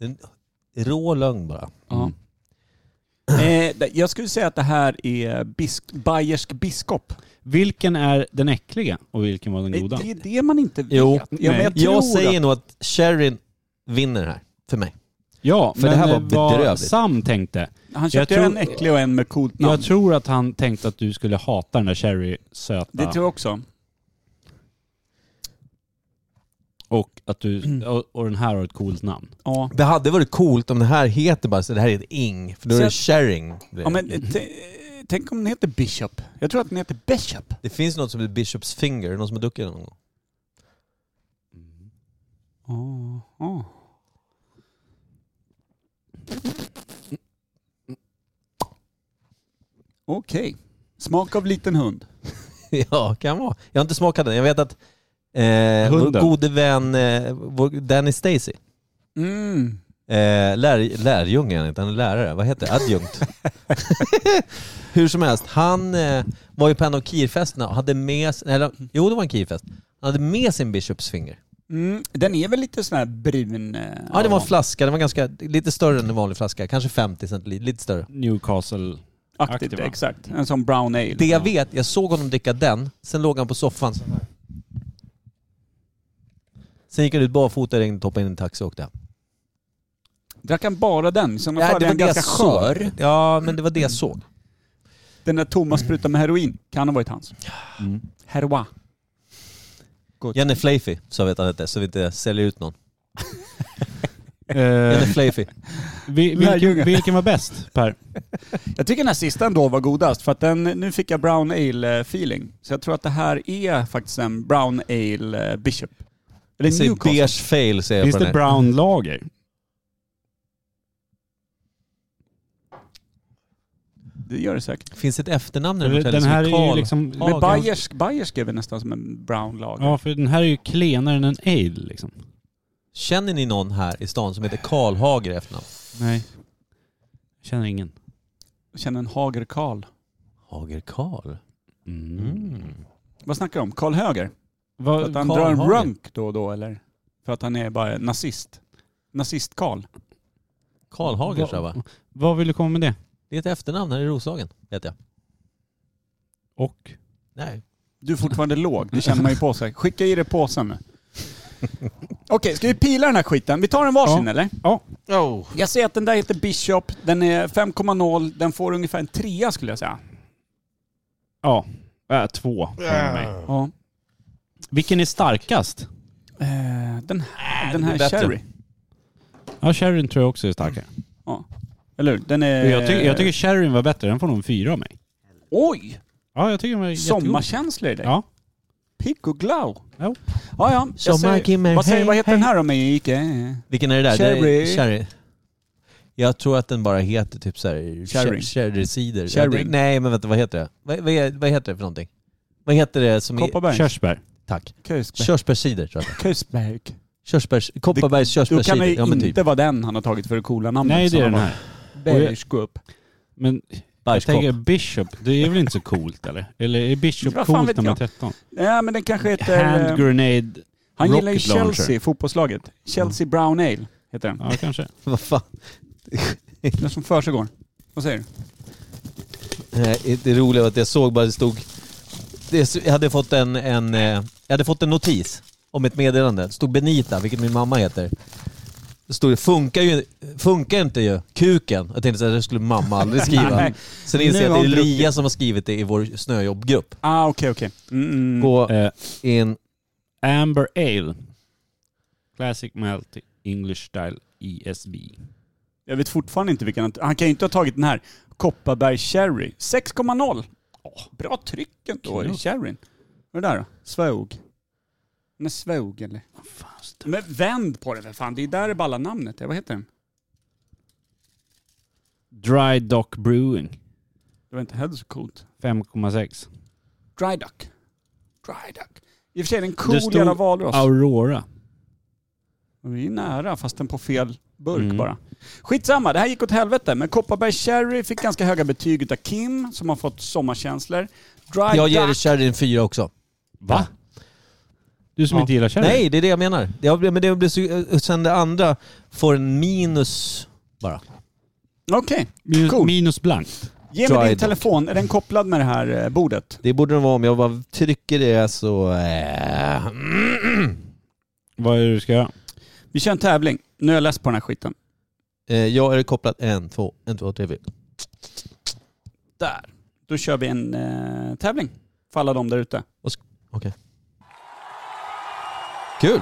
En rå lögn bara. Ja. Eh, det- jag skulle säga att det här är bisk, bayersk biskop. Vilken är den äckliga och vilken var den Det, goda? det är det man inte vet. Jo, ja, men jag, nej. tror Jag att, säger nog att Sherin vinner här, för mig. Ja, För det men här var eh, vad bedrövligt. Sam tänkte. Han köpte ju tror- en äcklig och en med coolt namn. Jag tror att han tänkte att du skulle hata den där det cherry-söta tror jag också. och att du... Och, och den här har ett coolt namn. Ja. Det hade varit coolt om det här heter bara så det här är ett ing, för då är Så det jag- sharing. Ja, men, t- tänk om den heter Bishop. Jag tror att den heter Bishop. Det finns något som heter Bishops finger, Är det någon som har druckit det någon gång? Okej. Smak av liten hund. Ja, kan vara. Jag har inte smakat den. Jag vet att eh, vår Hunden. gode vän eh, vår Danny Stacy, Mm. eh, lär, lärjunge är han inte, han är lärare. Vad heter det? Adjunkt. Hur som helst, han eh, var ju på en av kirfesterna och hade med sig, eller jo det var en kirfest, han hade med sin Bishops finger. Mm, den är väl lite sån här brun? eh, Ja, det var en flaska. Den var ganska, lite större än en vanlig flaska. Kanske 50 centiliter, lite större. Newcastle. aktigt, aktiv, va? Exakt, en sån brown ale. Det jag vet, jag såg honom dricka den, sen låg han på soffan så här. Sen gick han ut barfota, ringde, hoppade in i en taxi och åkte hem. Drack han bara den? Som ja, det var var ganska jag såg. skör. Ja, men det var det jag såg. Den där tomma sprutan med heroin kan ha varit hans. Mm. Heroin. Jenny Flafy, så vet han inte, så vi inte säljer ut någon. Eh, Jenny Flafy. vi- vilken, Lärjungar. vilken var bäst Per? Jag tycker den här sista ändå var godast för att den, nu fick jag brown ale eh, feeling. Så jag tror att det här är faktiskt en brown ale eh, bishop. Det Eller säger Newcastle. beige fail säger jag Finns på den det här. brown lager? Det gör det säkert. Finns det ett efternamn i den här buteljen Den som här är ju Karl? liksom... Men bayersk, bayersk är väl nästan som en brown lager. Ja, för den här är ju klenare än en ale liksom. Känner ni någon här i stan som heter Karl Hager i efternamn? Nej. Känner ingen. Jag känner en Hager Karl. Hager Karl? Mm. Vad snackar du om? Karl Höger? För att Vad, han Karl drar en Hager. runk då och då eller? För att han är bara nazist? Nazist-Karl? Karl Hager tror jag va? vad vill du komma med det? Det är ett efternamn här i Roslagen, heter jag. Och? Nej. Du är fortfarande låg, det känner man ju på sig. Skicka i dig påsen nu. Okej, ska vi pila den här skiten? Vi tar en varsin Ja. eller? Ja. Oh. Jag säger att den där heter Bishop, den är 5,0, den får ungefär en trea skulle jag säga. Ja. Äh, två från mig. Ja. Vilken är starkast? Eh, Den här, den det här blir bättre. Cherry. Ja, sherryn tror jag också är starkare. Eller hur? Den är... Jag, tycker, jag tycker sherryn var bättre. Den får nog en fyra av mig. Oj! Ja, jag tycker den var jättegod. Sommarkänslor i dig. Ja. Pigg och glow. Jo. Ja, ja. jag Sommar säger- Kimmer, vad, säger, hej, vad heter hej. den här då med Ike? Vilken är det där? Det är Cherry. cherry. Jag tror att den bara heter typ såhär... Cherry. Cherry cider. Cherry. Ja, det- Nej men vänta, vad heter det? Vad, vad, är- vad heter det för någonting? Vad heter det som är... Kopparbergs? Körsbär. Tack. Körsbär. Körsbärscider tror jag. Körsbär. Körsbärs... Kopparbergs Då kan det körsbärscider. ju Ja men inte typ. vara den han har tagit för det coola namnet. Nej, det som är den han har. här. Bergskupp. Men jag Bajskopp. tänker Bishop, det är väl inte så coolt eller? Eller är Bishop Vad fan coolt vet när man är jag? 13? Ja men den kanske heter... eh, Hand grenade. han gillar ju rocket launcher. Chelsea, fotbollslaget. Chelsea Brown Ale heter den. Ja, kanske. Vad fan? Den som försiggår. Vad säger du? Nej, det roliga var att jag såg bara det stod... Det, jag, hade fått en, en, eh, jag hade fått en notis om ett meddelande. Det stod Benita, vilket min mamma heter. Det stod det, funkar ju funkar inte ju, kuken. Jag tänkte att det skulle mamma aldrig skriva. Ah, Nej. Sen inser Nu jag har att det är hon druckit. Lia som har skrivit det i vår snöjobbgrupp. Ah okej okej. Mm, mm. Gå Eh, in... Amber Ale. Classic Malt English Style E ESB. Jag vet fortfarande inte vilken han... Han kan ju inte ha tagit den här. Kopparberg Cherry. 6,0. Åh, bra tryck ändå i Knut. sherryn. Vad är det där då? Svåg. Den är svåg eller? Fan, stö- Men vänd på det för fan. Det är där det ballar namnet är. Vad heter den? Dry Dock Brewing. Det var inte heller så coolt. 5,6. Dry Duck. Dry Duck. I och för sig, den cool Det stod jävla valross. Aurora. Och Vi är nära, fast den på fel burk Mm. bara. Skitsamma, det här gick åt helvete. Men Kopparberg Cherry fick ganska höga betyg utav Kim, som har fått sommarkänslor. Dry Jag ger Duck. Sherry en fyra också. Va? Du som Ja. inte gillar sherry? Nej, det är det jag menar. Jag, men det blir så, eh, sen det andra får en minus bara. Okej, Minus, Cool. minus blankt. ge Dry mig din Duck. telefon. Är den kopplad med det här eh, bordet? Det borde den vara om jag bara trycker det så... eh, Vad är det du ska göra? Vi kör en tävling. Nu är jag less på den här skiten. Eh, jag är kopplad en, två, en, två, tre, fyra. Där. Då kör vi en eh, tävling för alla de där ute. Kul!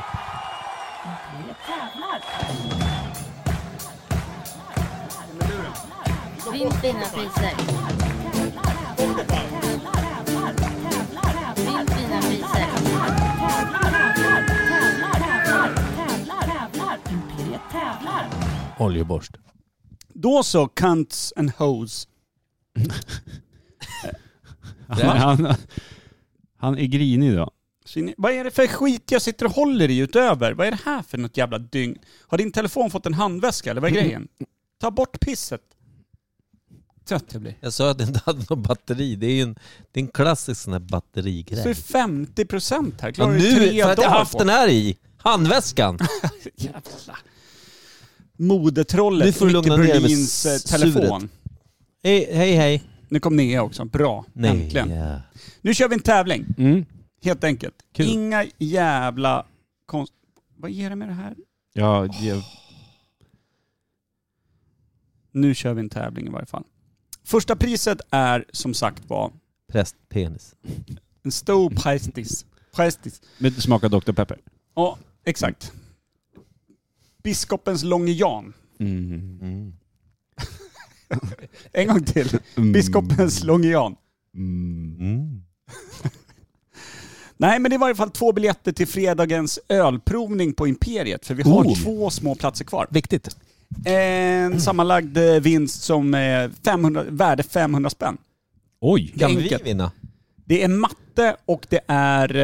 Vinn dina priser. Vinn dina priser. Oljeborst. Då så, cunts and hoes. Han, han, han är grinig idag. Så in- Vad är det för skit jag sitter och håller i utöver? Vad är det här för något jävla dygn? Har din telefon fått en handväska eller vad är grejen? Ta bort pisset. Trött jag blir. Jag sa att det inte hade något batteri. Det är ju en, det är en klassisk sån här Så är batterigrej. 50 procent här. Ja, Klarar du nu, för tre att jag dagar haft på. den här i! Handväskan! Modetrollet, Nu får du Micke lugna ner dig med Berlins eh, suret. telefon. Hej, hej. hej. Nu kom Nea också. Bra, Nej. eh, äntligen. ja. Nu kör vi en tävling, Mm. helt enkelt. Kul. Inga jävla konst... Vad är det med det här? Ja, jag, Nu kör vi en tävling i varje fall. Första priset är som sagt var Prästpenis. en stor Mm. prestis. Prestis. men smaka Dr. Pepper. Ja, exakt. Biskopens Långe Jan. Mm. En gång till. Mm. Biskopens Långe Jan. Mm. Nej, men det är i varje fall två biljetter till fredagens ölprovning på Imperiet. För vi har Oh. två små platser kvar. Viktigt. En sammanlagd eh, vinst som är 500, värde 500 spänn. Oj! Kan vi Enkelt. vinna? Det är matte och det är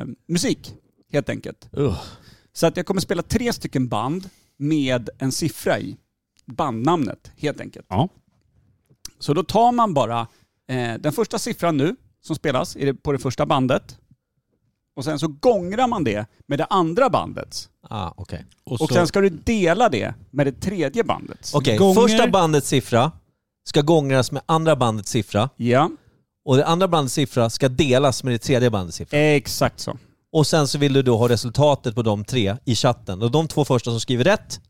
eh, musik, helt enkelt. Så att jag kommer spela tre stycken band med en siffra i. Bandnamnet, helt enkelt. Ja. Så då tar man bara eh, den första siffran nu, som spelas är det på det första bandet. Och sen så gångrar man det med det andra bandet. Ah, Okej, Och sen ska du dela det med det tredje bandet. Okej, Gånger- första bandets siffra ska gångras med andra bandets siffra Ja, och det andra bandets siffra ska delas med det tredje bandets siffra. exakt så. Och sen så vill du då ha resultatet på de tre i chatten. Och de två första som skriver rätt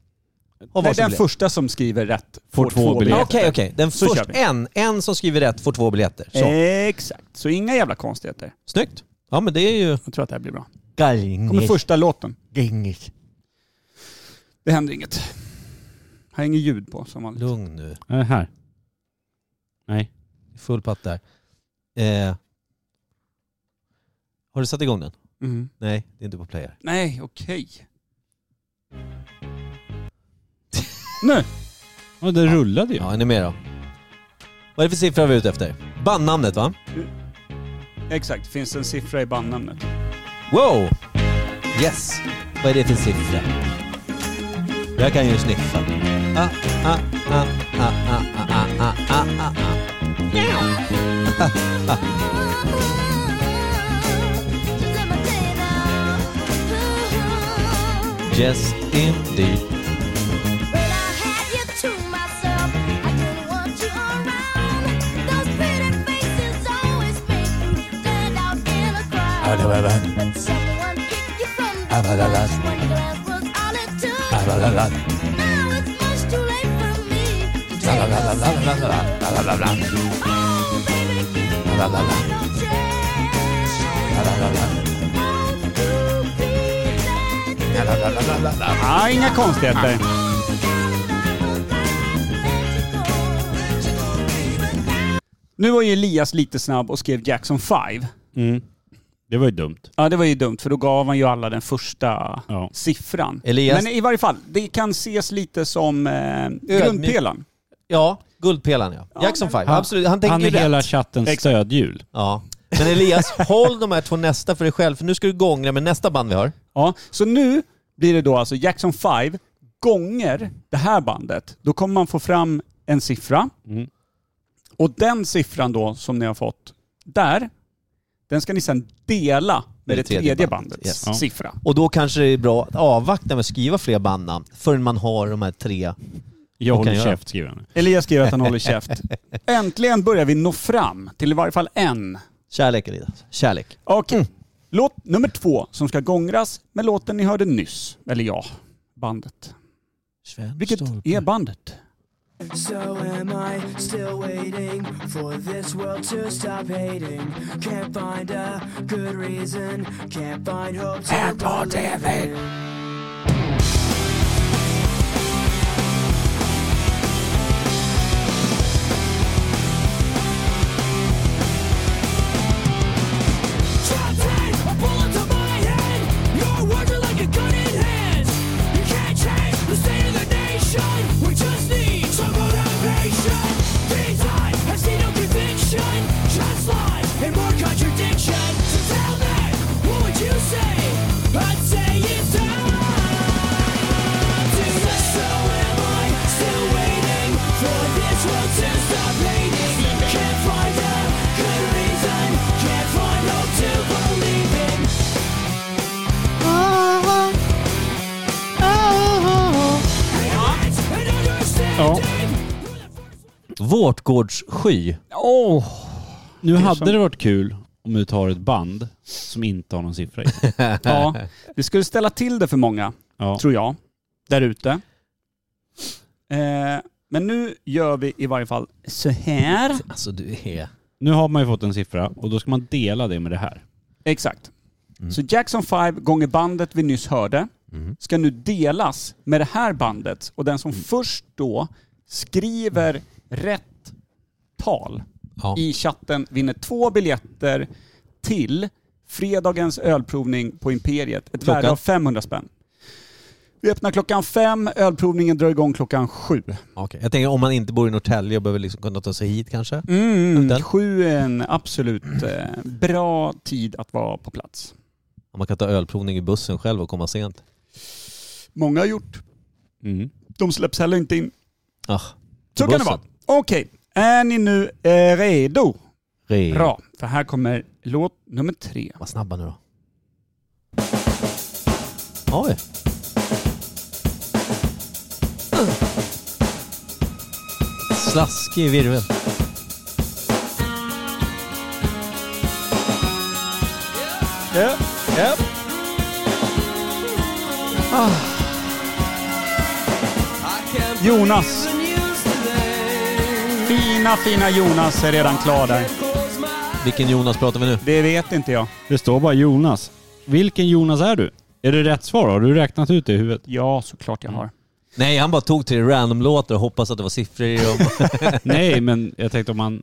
har Nej, varsin den biljett. första som skriver rätt Får två Ja, biljetter. Okej, okej. Den Så först, kör vi. Eh. en, en som skriver rätt får två biljetter. Så. Exakt, så inga jävla konstigheter. Snyggt. Ja men det är ju... Jag tror att det här blir bra. Kommer Gallingis. första låten. Det händer inget. Här är inget ljud på som vanligt. Lugn nu. Eh, här. Nej. Full patt där. Eh, har du satt igång den? Mhm. Nej, det är inte på player. Nej, okej. nu! Ja, det rullade ju. Ja, är ni med då? Vad är det för siffra vi är ute efter? Bandnamnet va? Exakt, finns en siffra i bandnamnet. Wow! Yes! Vad är det för siffra? Jag kan ju sniffa. Ah, ah, ah, ah, ah, ah, ah, ah, ah, ah, ah. Yes, indeed. Oh, Oh, Ah, inga konstigheter. Nu var ju Elias lite snabb och skrev Jackson 5. Mm. Det var ju dumt. Ja, det var ju dumt för då gav man ju alla den första Ja. siffran. Elias- Men i varje fall, det kan ses lite som eh, grundpelaren. Ja, guldpelaren ja. Jackson Five. Absolut, han tänker Han ju är rätt. hela chattens stödhjul. Ja. Men Elias, håll de här två nästa för dig själv, för nu ska du gångra med nästa band vi har. Ja, så nu blir det då alltså Jackson 5 gånger det här bandet. Då kommer man få fram en siffra. Mm. Och den siffran då som ni har fått där, den ska ni sedan dela med det tredje, bandet, bandets yes. Ja. siffra. Och då kanske det är bra att avvakta med att skriva fler bandnamn förrän man har de här tre. Jag Vad kan håller jag göra? käft skriver han. Elias skriver att han håller käft. Äntligen börjar vi nå fram till i varje fall en. Kärlek Elias. Kärlek. Okej. Låt nummer två som ska gångras med låten ni hörde nyss. Eller ja, bandet. Vilket är bandet? So am I still waiting for this world to stop hating? Can't find a good reason, can't find hope to Airport heaven. Contradiction. So tell me, what would you say? I'd say it's out. Tårtgårdssky. Åh! Nu är hade som- det varit kul om vi tar ett band som inte har någon siffra i. Ja, det skulle ställa till det för många, Ja. tror jag, där ute. Eh, men nu gör vi i varje fall så här. Alltså du är... Nu har man ju fått en siffra och då ska man dela det med det här. Exakt. Mm. Så Jackson 5 gånger bandet vi nyss hörde Mm. ska nu delas med det här bandet och den som först då skriver rätt tal Ja. i chatten vinner två biljetter till fredagens ölprovning på Imperiet. Ett Klockan? värde av 500 spänn. Vi öppnar klockan fem, ölprovningen drar igång klockan sju. Okej. Jag tänker om man inte bor i Norrtälje och behöver liksom kunna ta sig hit kanske. Mm, Den? sju är en absolut eh, bra tid att vara på plats. Om man kan ta ölprovning i bussen själv och komma sent. Många har gjort. Mm. De släpps heller inte in. Ah, Så kan det vara. Okej, är ni nu eh, redo? Re. Bra, för här kommer låt nummer tre. Var snabba nu då. Oj. Slaskig virvel. Ja, ja. Ah. Jonas. Fina, fina Jonas är redan klar där. Vilken Jonas pratar vi nu? Det vet inte jag. Det står bara Jonas. Vilken Jonas är du? Är det rätt svar? Har du räknat ut det i huvudet? Ja, såklart jag har. Nej, han bara tog tre random-låtar och hoppas att det var siffror i dem. Nej, men jag tänkte om han,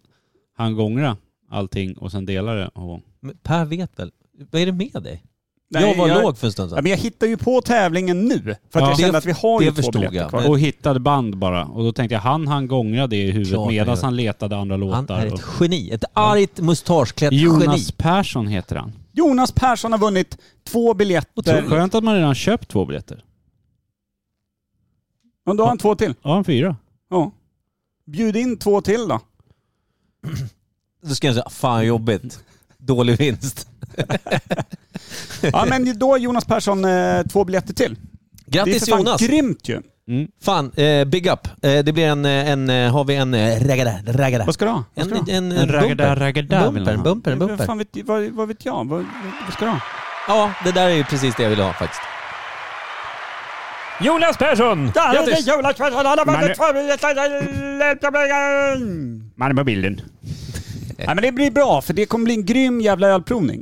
han gångra allting och sen delar det. Och... Men per vet väl? Vad är det med dig? Nej, jag var låg för en stund Ja, sedan. men jag hittar ju på tävlingen nu. För att Ja. jag kände Det- att vi har ju det två förstod biljetter jag. kvar. Och hittade band bara. Och då tänkte jag, han han gångra det i huvudet Klart han medan gör. han letade andra Han låtar. är och... ett geni. Ett argt mustaschklätt geni. Jonas Persson heter han. Jonas Persson har vunnit två biljetter. Skönt att man redan köpt två biljetter. Och då har han två till. Ja, en fyra. Ja. Bjud in två till då. Då ska jag säga, fan jobbigt. Dålig vinst. Ja, men då har Jonas Persson eh, två biljetter till. Det är Grattis för fan Jonas! grymt ju. Mm. Fan, eh, big up. Eh, det blir en, eh, en, eh, har vi en eh, raggada, raggada. Vad ska du ha? Vad En, ska du ha? en, en, En raggada, bumper. raggada En vill han bumper, en ha. bumper, en Vad bumper. Fan vet, vad, vad vet jag? Vad, vad ska du ha? Ja, det där är ju precis det jag ville ha faktiskt. Jonas Persson! Grattis! Man är på bilden. Nej men det blir bra för det kommer bli en grym jävla ölprovning.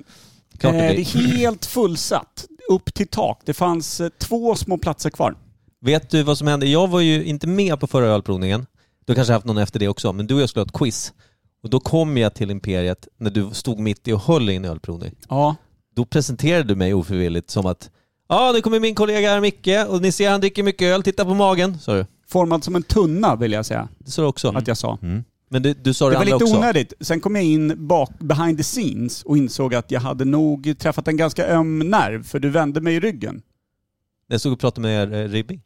Eh, Klart det det blir. är helt fullsatt. Upp till tak. Det fanns eh, två små platser kvar. Vet du vad som hände? Jag var ju inte med på förra ölprovningen. Du har kanske haft någon efter det också, men du och jag skulle ha ett quiz. Och då kom jag till Imperiet när du stod mitt i och höll i en ölprovning. Ja. Då presenterade du mig ofrivilligt som att Ja, nu kommer min kollega här Micke och ni ser han dricker mycket öl, titta på magen, sa du. Formad som en tunna vill jag säga Det sa du också. att jag sa. Men du, du sa det, Det var andra lite också. onödigt. Sen kom jag in bak, behind the scenes och insåg att jag hade nog träffat en ganska öm nerv för du vände mig i ryggen. Jag stod och pratade med eh, Ribbing.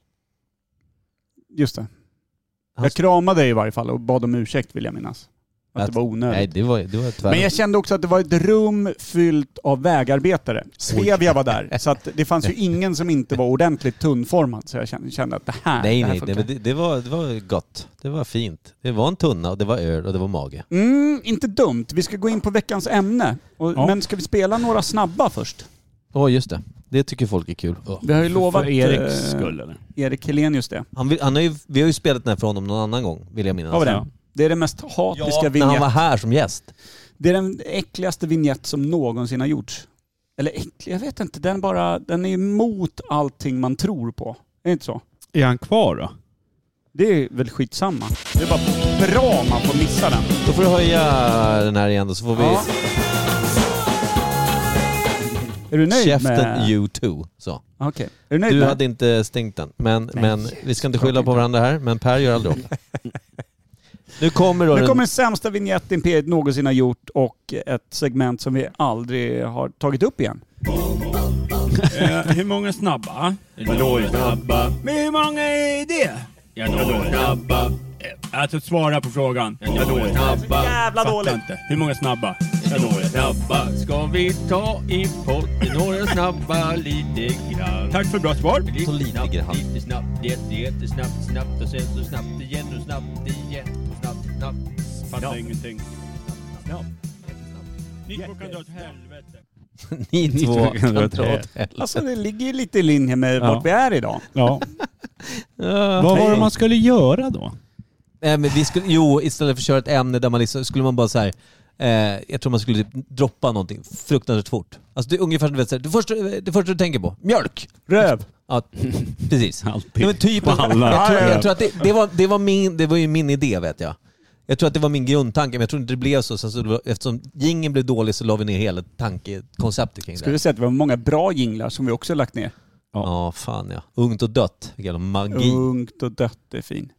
Just det. Han- Jag kramade dig i varje fall och bad om ursäkt vill jag minnas. Att, Alltså- Att- det var onödigt. Nej, det var, det var tyvärr... Men jag kände också att det var ett rum fyllt av vägarbetare. Svevia var där. Så att det fanns ju ingen som inte var ordentligt tunnformad. Så jag kände, kände att det här, nej, det här nej, nej, funkar. men det, det, var, det var gott. Det var fint. Det var en tunna och det var öl och det var mage. Mm, inte dumt. Vi ska gå in på veckans ämne. Och, Ja. Men ska vi spela några snabba först? Ja, just det. Det tycker folk är kul. Ja. Vi har ju lovat För Eriks eh, skull eller? Erik Helenius det. Han, vill- han har ju, vi har ju spelat den här för honom någon annan gång, vill jag minnas. Har vi Ja. det? Det är den mest hatiska När han vignett. var här som gäst. Det är den äckligaste vignett som någonsin har gjorts. Eller äcklig, jag vet inte. Den, bara, den är emot allting man tror på. Är det inte så? Är han kvar då? Det är väl skitsamma. Det är bara bra om man får missa den. Då får du höja den här igen då, så får vi Ja. Är du nöjd käften med... U2. Så. Okej. Är du nöjd Du med... hade inte stängt den, men, men vi ska inte skylla på varandra här, men Per gör aldrig om det. Nu kommer då Nu den... kommer den sämsta vignett Imperiet någonsin har gjort och ett segment som vi aldrig har tagit upp igen. Hur många snabba? Vadå snabba? Men hur många är det? Vadå snabba? Alltså svara på frågan. Vadå snabba? jävla Fattar dåligt. inte. Hur många snabba? Vadå snabba? Ska vi ta i potten några snabba lite grann? Tack för bra svar. Så lite snabbt, grann. Lite snabbt, jätte, jättesnabbt, snabbt och sen så snabbt igen och snabbt igen. Snabbt, snabbt. Fattar Ja. ingenting. Ja. Ni två kan dra åt helvete. Ni Ni två kan dra åt helvete. helvete. Alltså det ligger ju lite i linje med Ja. vart vi är idag. Ja. Vad var det man skulle göra då? Nej, men vi skulle, jo, istället för att köra ett ämne där man liksom, skulle man bara så här. Eh, jag tror man skulle typ droppa någonting fruktansvärt fort. Alltså det är ungefär som du vet, så här, det, första, det första du tänker på, mjölk! Röv. Ja, precis. Alltid. Nej, men typ, jag, tror, Alla. jag tror att det, det, var, det, var min, det var ju min idé vet jag. Jag tror att det var min grundtanke, men jag tror inte det blev så. Sen så det var, eftersom gingen blev dålig så la vi ner hela tankekonceptet kring Skulle det. du säga att vi har många bra jinglar som vi också har lagt ner? Ja, fan ja. Ungt och dött. Vilken jävla magi. Ungt och dött är fin.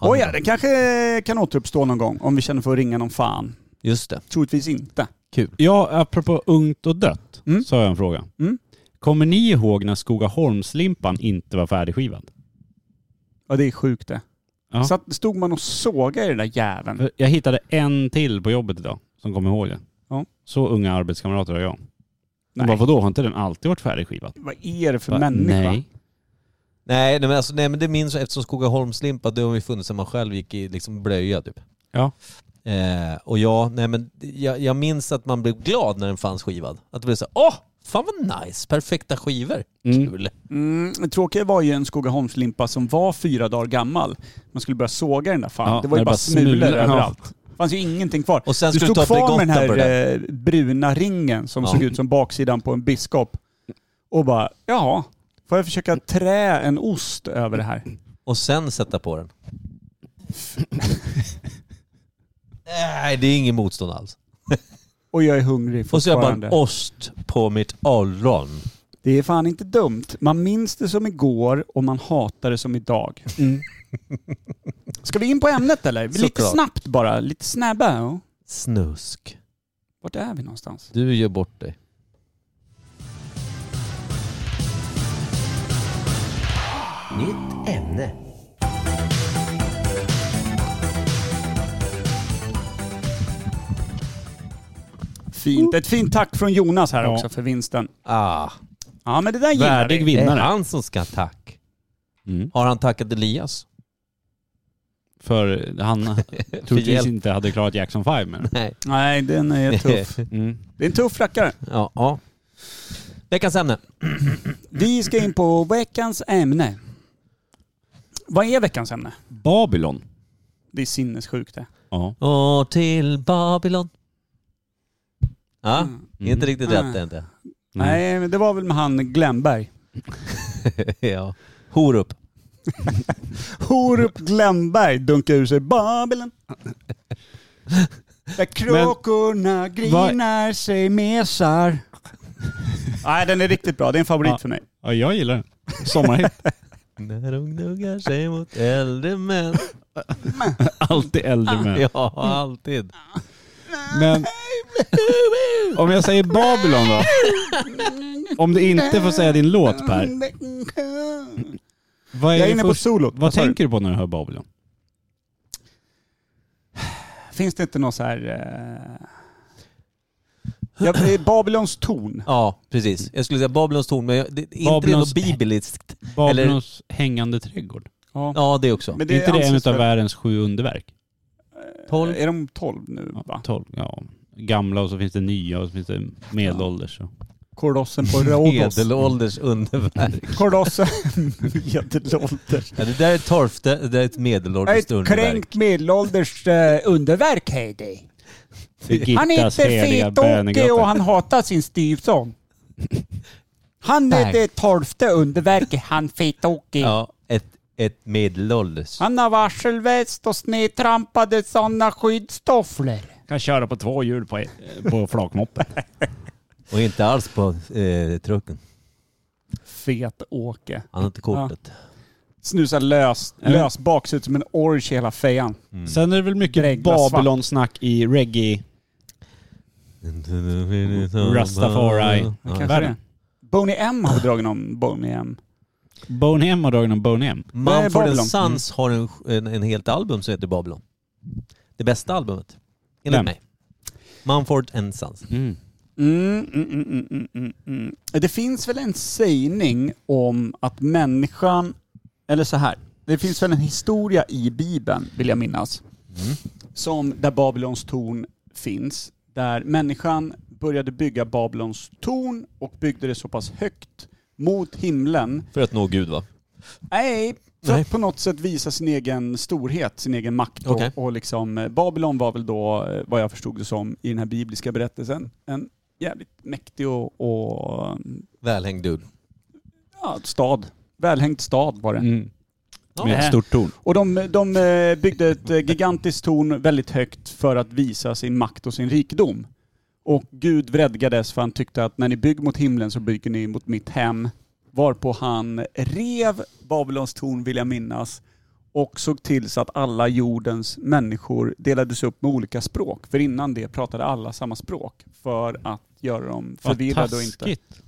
Ja, Åja, den kanske kan återuppstå någon gång om vi känner för att ringa någon fan. Just det. Troligtvis inte. Ja, apropå ungt och dött Mm. så har jag en fråga. Mm. Kommer ni ihåg när Skogaholmslimpan inte var färdigskivad? Ja, det är sjukt det. Ja. Så att, stod man och sågade i den där jäveln. För Jag hittade en till på jobbet idag som kommer ihåg det. Ja. Så unga arbetskamrater har jag. Nej. Nej. Bara, vadå, har inte den alltid varit färdigskivad? Vad är det för Bara, människa? Nej. Nej, nej, men, alltså, nej men det minns jag eftersom Skogaholmslimpa, det har ju funnits sedan man själv gick i liksom, blöja typ. Ja. Eh, och ja, nej men jag, jag minns att man blev glad när den fanns skivad. Att det blev så här, åh, fan vad nice, perfekta skivor. Mm. Kul. Mm, det tråkiga var ju en Skogaholmslimpa som var fyra dagar gammal. Man skulle börja såga den där fan. Ja, det var ju när det bara bara smulor smulor, ja. överallt. Det fanns ju ingenting kvar. Och sen du skulle stod du ta kvar med den Bregotten på det här eh, bruna ringen som Ja. såg ut som baksidan på en biskop. Och bara, jaha, får jag försöka trä en ost över det här? Och sen sätta på den. nej, det är ingen motstånd alls. Och jag är hungrig Och så jag bara en fortfarande. ost på mitt ollon. det är fan inte dumt. Man minns det som igår och man hatar det som idag. Ska vi in på ämnet eller? Lite Mm. Såklart. snabbt bara, lite snabba. ja. Snusk. Vart är vi någonstans? Du gör bort dig. Fint. Ett fint tack från Jonas här Oh. Ja. också för vinsten. Ah, Ja men det där gillar Värdig vi. det är vinnare. han som ska ha tack. Mm. Har han tackat Elias? För han troligtvis hjälp. inte hade klarat Jackson 5 med den. Nej. Nej den är tuff. Mm. Det är en tuff rackare. Ja. ja. Veckans ämne. Vi ska in på veckans ämne. Vad är veckans ämne? Babylon. Det är sinnessjukt det. Ja. Och till Babylon. Ja, Mm. inte riktigt Mm. rätt det är inte. Mm. Nej men det var väl med han Glenberg. ja. Horup. Horup Glenberg dunkar ur sig Babylon. Där kråkorna grinar sig mesar. Nej den är riktigt bra. Det är en favorit Ja. för mig. Ja, jag gillar den. Sommarhit. När de gnuggar sig mot äldre män. Mm. Alltid Ah. äldre män. Ja, alltid. Men om jag säger Babylon då? Om du inte får säga din låt Per, vad, är Jag är det inne för- på solot. vad sa du? tänker du på när du hör Babylon? Finns det inte någon så här... eh, Ja, det är Babylons torn. Ja, precis. Jag skulle säga Babylons torn, men jag, det, inte det är Babylons- något bibliskt. Babylons hängande trädgård. Ja. Ja, det också. Men är inte det en anses utav väl- världens sju underverk? Tolv. Är de tolv nu Ja, va? tolv. Ja. Gamla och så finns det nya och så finns det medelålders. och- Kordossen på Rhodos. Medelålders underverk. Kordossen medelålders. Ja, det där är torfte, det där är ett Ett medelålders underverk. kränkt medelålders eh, underverk Heidi. Han är Birgittas inte heliga fetåkig och bönegrottor. han hatar sin styvson. Han är Nej. det tolfte underverket, han fetåkig. Ja, ett, ett medelålders. Han har varselväst och snedtrampade sådana skyddstofflor. Kan köra på två hjul på, på flakmoppen. Och inte alls på eh, trucken. Fet-Åke. Han har inte kortet. Snusar lös, lös bak, ser ut som en orch i hela fejan. Sen är det väl mycket Dregla svart. Babylon-snack i reggae. Rastafari. Kanske världen. det. Boney M har vi dragit om Boney M. Bonhem har dragit om Bonhem. Nej, Mumford Babylon. Mm. Sons har en, en, en helt album som heter Babylon. Det bästa albumet. Enligt Vem? mig. Mumford and Sons. Mm. Mm, mm, mm, mm, mm, mm, mm. Det finns väl en sägning om att människan, eller så här, det finns väl en historia i Bibeln vill jag minnas. som där Babylons torn finns. Där människan började bygga Babylons torn och byggde det så pass högt mot himlen För att nå Gud va? Nej, för Nej. att på något sätt visa sin egen storhet, sin egen makt. Okej. Och, och liksom, eh, Babylon var väl då, eh, vad jag förstod det som, i den här bibliska berättelsen, en jävligt mäktig och, och mm, Välhängd dude. ja, stad. Välhängd stad var det. Mm. Ja. Äh, Med ett stort torn. Och de, de eh, byggde ett eh, gigantiskt torn väldigt högt för att visa sin makt och sin rikedom. Och Gud vredgades för han tyckte att när ni bygger mot himlen så bygger ni mot mitt hem. Varpå han rev Babylons torn vill jag minnas och såg till så att alla jordens människor delades upp med olika språk. För innan det pratade alla samma språk för att göra dem Vad förvirrade och inte... taskigt.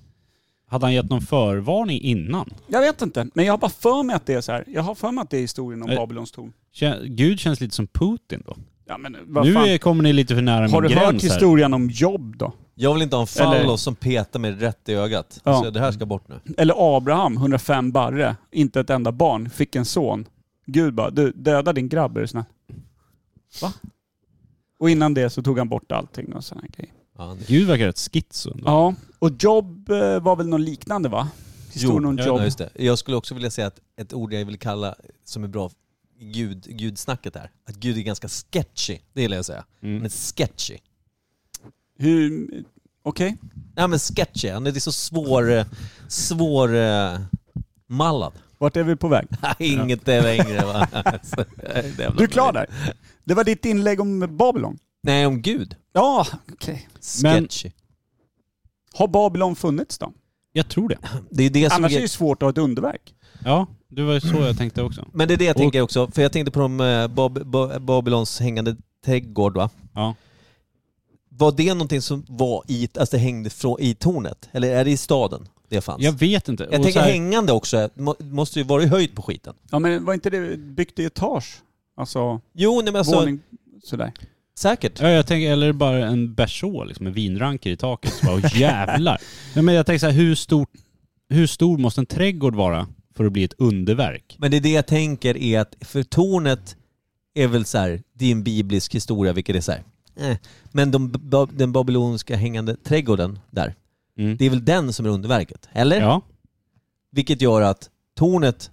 Hade han gett någon förvarning innan? Jag vet inte, men jag har bara för mig att det är så här. Jag har för mig att det är historien om Eh. Babylons torn. Kän- Gud känns lite som Putin då. Ja, men, vad nu fan? är, kommer ni lite för nära Har min du gräns hört här. historien om Job då? Jag vill inte ha en Eller- fallos som petar mig rätt i ögat. Ja. Så det här ska bort nu. Eller Abraham, 105 barre, inte ett enda barn, fick en son. Gud bara, du döda din grabb är du snäll. Va? Och innan det så tog han bort allting och sådana grejer. Ja, det- Gud verkar rätt schizo ändå. Ja, och Job eh, var väl något liknande va? Historien om ja, Job. ja, just det. Jag skulle också vilja säga att ett ord jag vill kalla, som är bra, gud, gudsnacket är, att Gud är ganska sketchy. Det gillar jag att säga. Mm. Han är sketchy. Hur... Okej. Nej men sketchy, han är så svår, eh, svår eh, mallad. Vart är vi på väg? Inget är längre va. Så, eh, det jävla- Du är klar där? Det var ditt inlägg om Babylon. Nej, om Gud. Ja, okej. Men- Sketchy. Har Babylon funnits då? Jag tror det. Det är det som Annars är är... det ju svårt att ha ett underverk. Ja, det var ju så jag tänkte också. Men det är det jag Och- tänker också, för jag tänkte på de eh, Bab- Ba- Babylons hängande trädgård va? Ja. Var det någonting som var i, alltså det hängde från, i tornet? Eller är det i staden det fanns? Jag Jag, vet inte. Och tänker så här- hängande också, må, måste ju vara i höjd på skiten. Ja men var inte det byggt i etage? Alltså, Jo, nej men alltså, våning sådär. säkert. Ja, jag tänker, eller bara en berså, liksom en vinranker i taket. Så bara, "Åh, jävlar. Nej, men jag tänker så här, hur, stort, hur stor måste en trädgård vara för att bli ett underverk? Men det är det jag tänker är att, för tornet är väl så här, det är en biblisk historia, vilket är så här. Eh. Men de, ba, den babyloniska hängande trädgården där, Mm. det är väl den som är underverket? Eller? Ja, Vilket gör att tornet,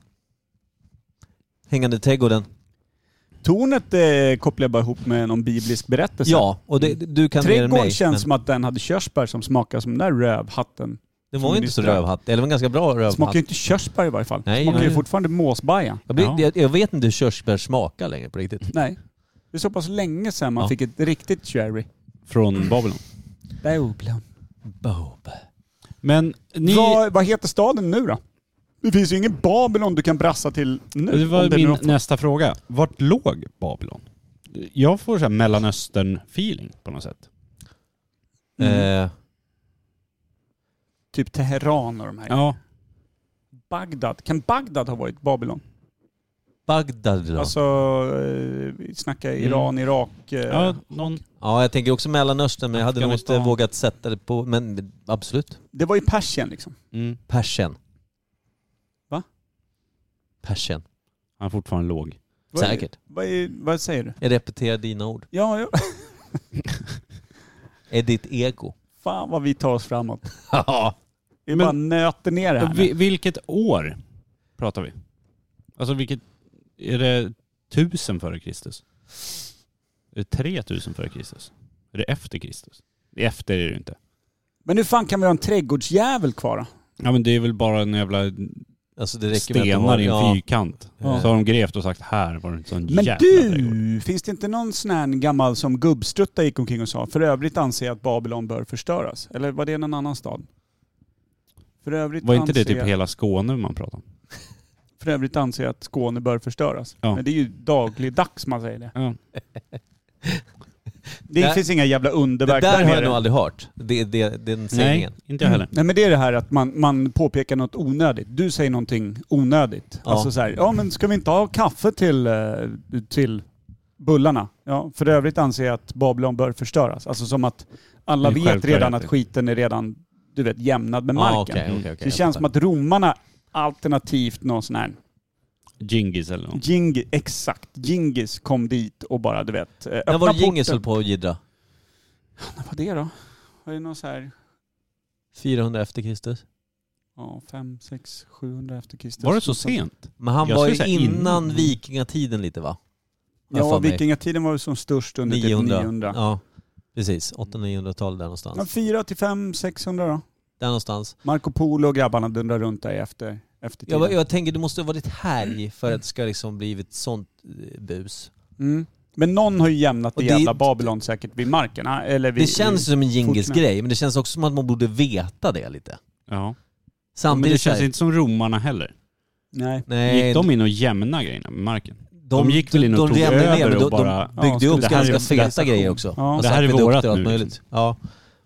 hängande trädgården, Tornet eh, kopplar jag bara ihop med någon biblisk berättelse. ja, och det, du kan mer än Trädgården mig. känns men som att den hade körsbär som smakar som den där rövhatten. det var ju inte så rövhatt, eller det var en ganska bra Smakar rövhatt. ju inte körsbär i varje fall. Nej, smakar nej. ju fortfarande måsbaja. Jag, blir, Ja. jag, jag vet inte hur körsbär smakar längre på riktigt. Nej. Det är så pass länge sedan man Ja. fick ett riktigt cherry. från Babylon. Babylon. Mm. Bob. Men ni... Vad, vad heter staden nu då? Det finns ju ingen Babylon du kan brassa till nu. Det om var det nu min har- nästa fråga. Vart låg Babylon? Jag får så här Mellanöstern-feeling på något sätt. Mm. Eh, Typ Teheran och de här. Ja. Bagdad. Kan Bagdad ha varit Babylon? Bagdad då? Alltså, eh, vi snackar Mm. Iran, Irak. eh, ja någon... Ja, jag tänker också Mellanöstern, men jag hade nog inte Afghanistan. vågat sätta det på... Men absolut. Det var ju Persien liksom. mm. Persien. Va? Persien. Han är fortfarande låg. Vad är- Säkert. Vad, är, vad säger du? Jag repeterar dina ord. Ja, ja. Är ditt ego. Fan vad vi tar oss framåt. Ja. Vi Men- bara nöter ner det här nu. Vi, vilket år pratar vi? Alltså vilket... Är det tusen före Kristus? Är det 3000 före Kristus? Är det efter Kristus? Det är Efter är det ju inte. Men hur fan kan vi ha en trädgårdsjävel kvar då? Ja men det är väl bara en jävla Alltså det räcker med att de stenar har- i en ja. fyrkant. Ja. Så har de grävt och sagt här var det en sån Men jävla trädgård. du! Finns det inte någon sån här gammal som gubbstrutta gick omkring och sa för övrigt anser jag att Babylon bör förstöras? Eller var det någon annan stad? För övrigt, Var inte det anser typ jag, hela Skåne man pratade om? för övrigt anser jag att Skåne bör förstöras. Ja. Men det är ju dagligdags man säger det. Ja. Det Där- finns inga jävla Det underverk där har jag nere. nog aldrig hört. Det, det, den Nej, sägningen. inte jag heller. Mm. Nej men det är det här att man, man påpekar något onödigt. Du säger någonting onödigt. Ja. Alltså så här, ja men ska vi inte ha kaffe till, eh, till bullarna? Ja, för övrigt anser jag att Babylon bör förstöras. Alltså som att alla Det är vet redan självklarheter. att skiten är redan, du vet, jämnad med marken. Ah, okej, okej, okej. det känns som att romarna alternativt någon sån här Gingis Mm. eller något. Jing, exakt. Gingis kom dit och bara, du vet, eh, När öppna var det porten. Gingis höll på att jiddra? När var det då? Var det någon så här, 400 efter Kristus. ja, 5, 6, 700 efter Kristus? Var det så sent? Men han Jag var skulle ju säga innan innan. vikingatiden lite va? Har jag Ja, för mig. vikingatiden var ju som störst under 900. 900. typ 900. Ja, precis. 800-900-tal där någonstans. Ja, 4 till 5, 600 då. Där någonstans. Marco Polo och grabbarna dundrar runt där efter, efter tiden. Jag, jag tänker det måste ha varit härj för att det ska liksom blivit sånt eh, bus. Mm. Men någon har ju jämnat det, Och det- jävla Babylon säkert vid marken. ah, Eller vid, Det känns ju som en Fortfarande. Gingis-grej, men det känns också som att man borde veta det lite. Ja. Men Samtidigt det så här- känns inte som romarna heller. Nej. Nej, Gick de in och jämnade grejerna med marken? de gick väl in och tog jämnade över men och de, bara- De byggde Ja, upp det här ganska är en feta civilisation. greger också. Alltså, Ja. Det här är akvedukter och vårat allt nu, möjligt. liksom. Ja.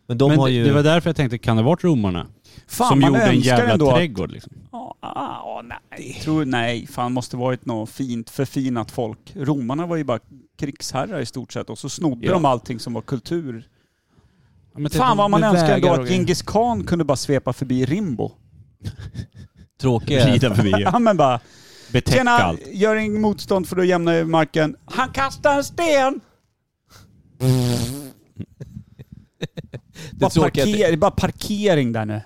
Men de Men har ju... Det var därför jag tänkte, kan det ha varit romarna? Fan, som man gjorde en önskar jävla ändå att- trädgård liksom. Ja, ah, ah, nej. Tror, nej, fan måste varit något fint förfinat folk. Romarna var ju bara krigsherrar i stort sett och så snodde Ja. de allting som var kultur. Ja, men Fan titta, vad man med önskar ändå vägar och att grejer. Genghis khan kunde bara svepa förbi Rimbo. Tråkiga... Rida förbi. Ja men bara, Betäcka tjena, allt. gör ingen motstånd för då jämnar jag marken. Han kastar en sten! Det Bara, tråkiga är att parker, det är bara parkering där nu. Det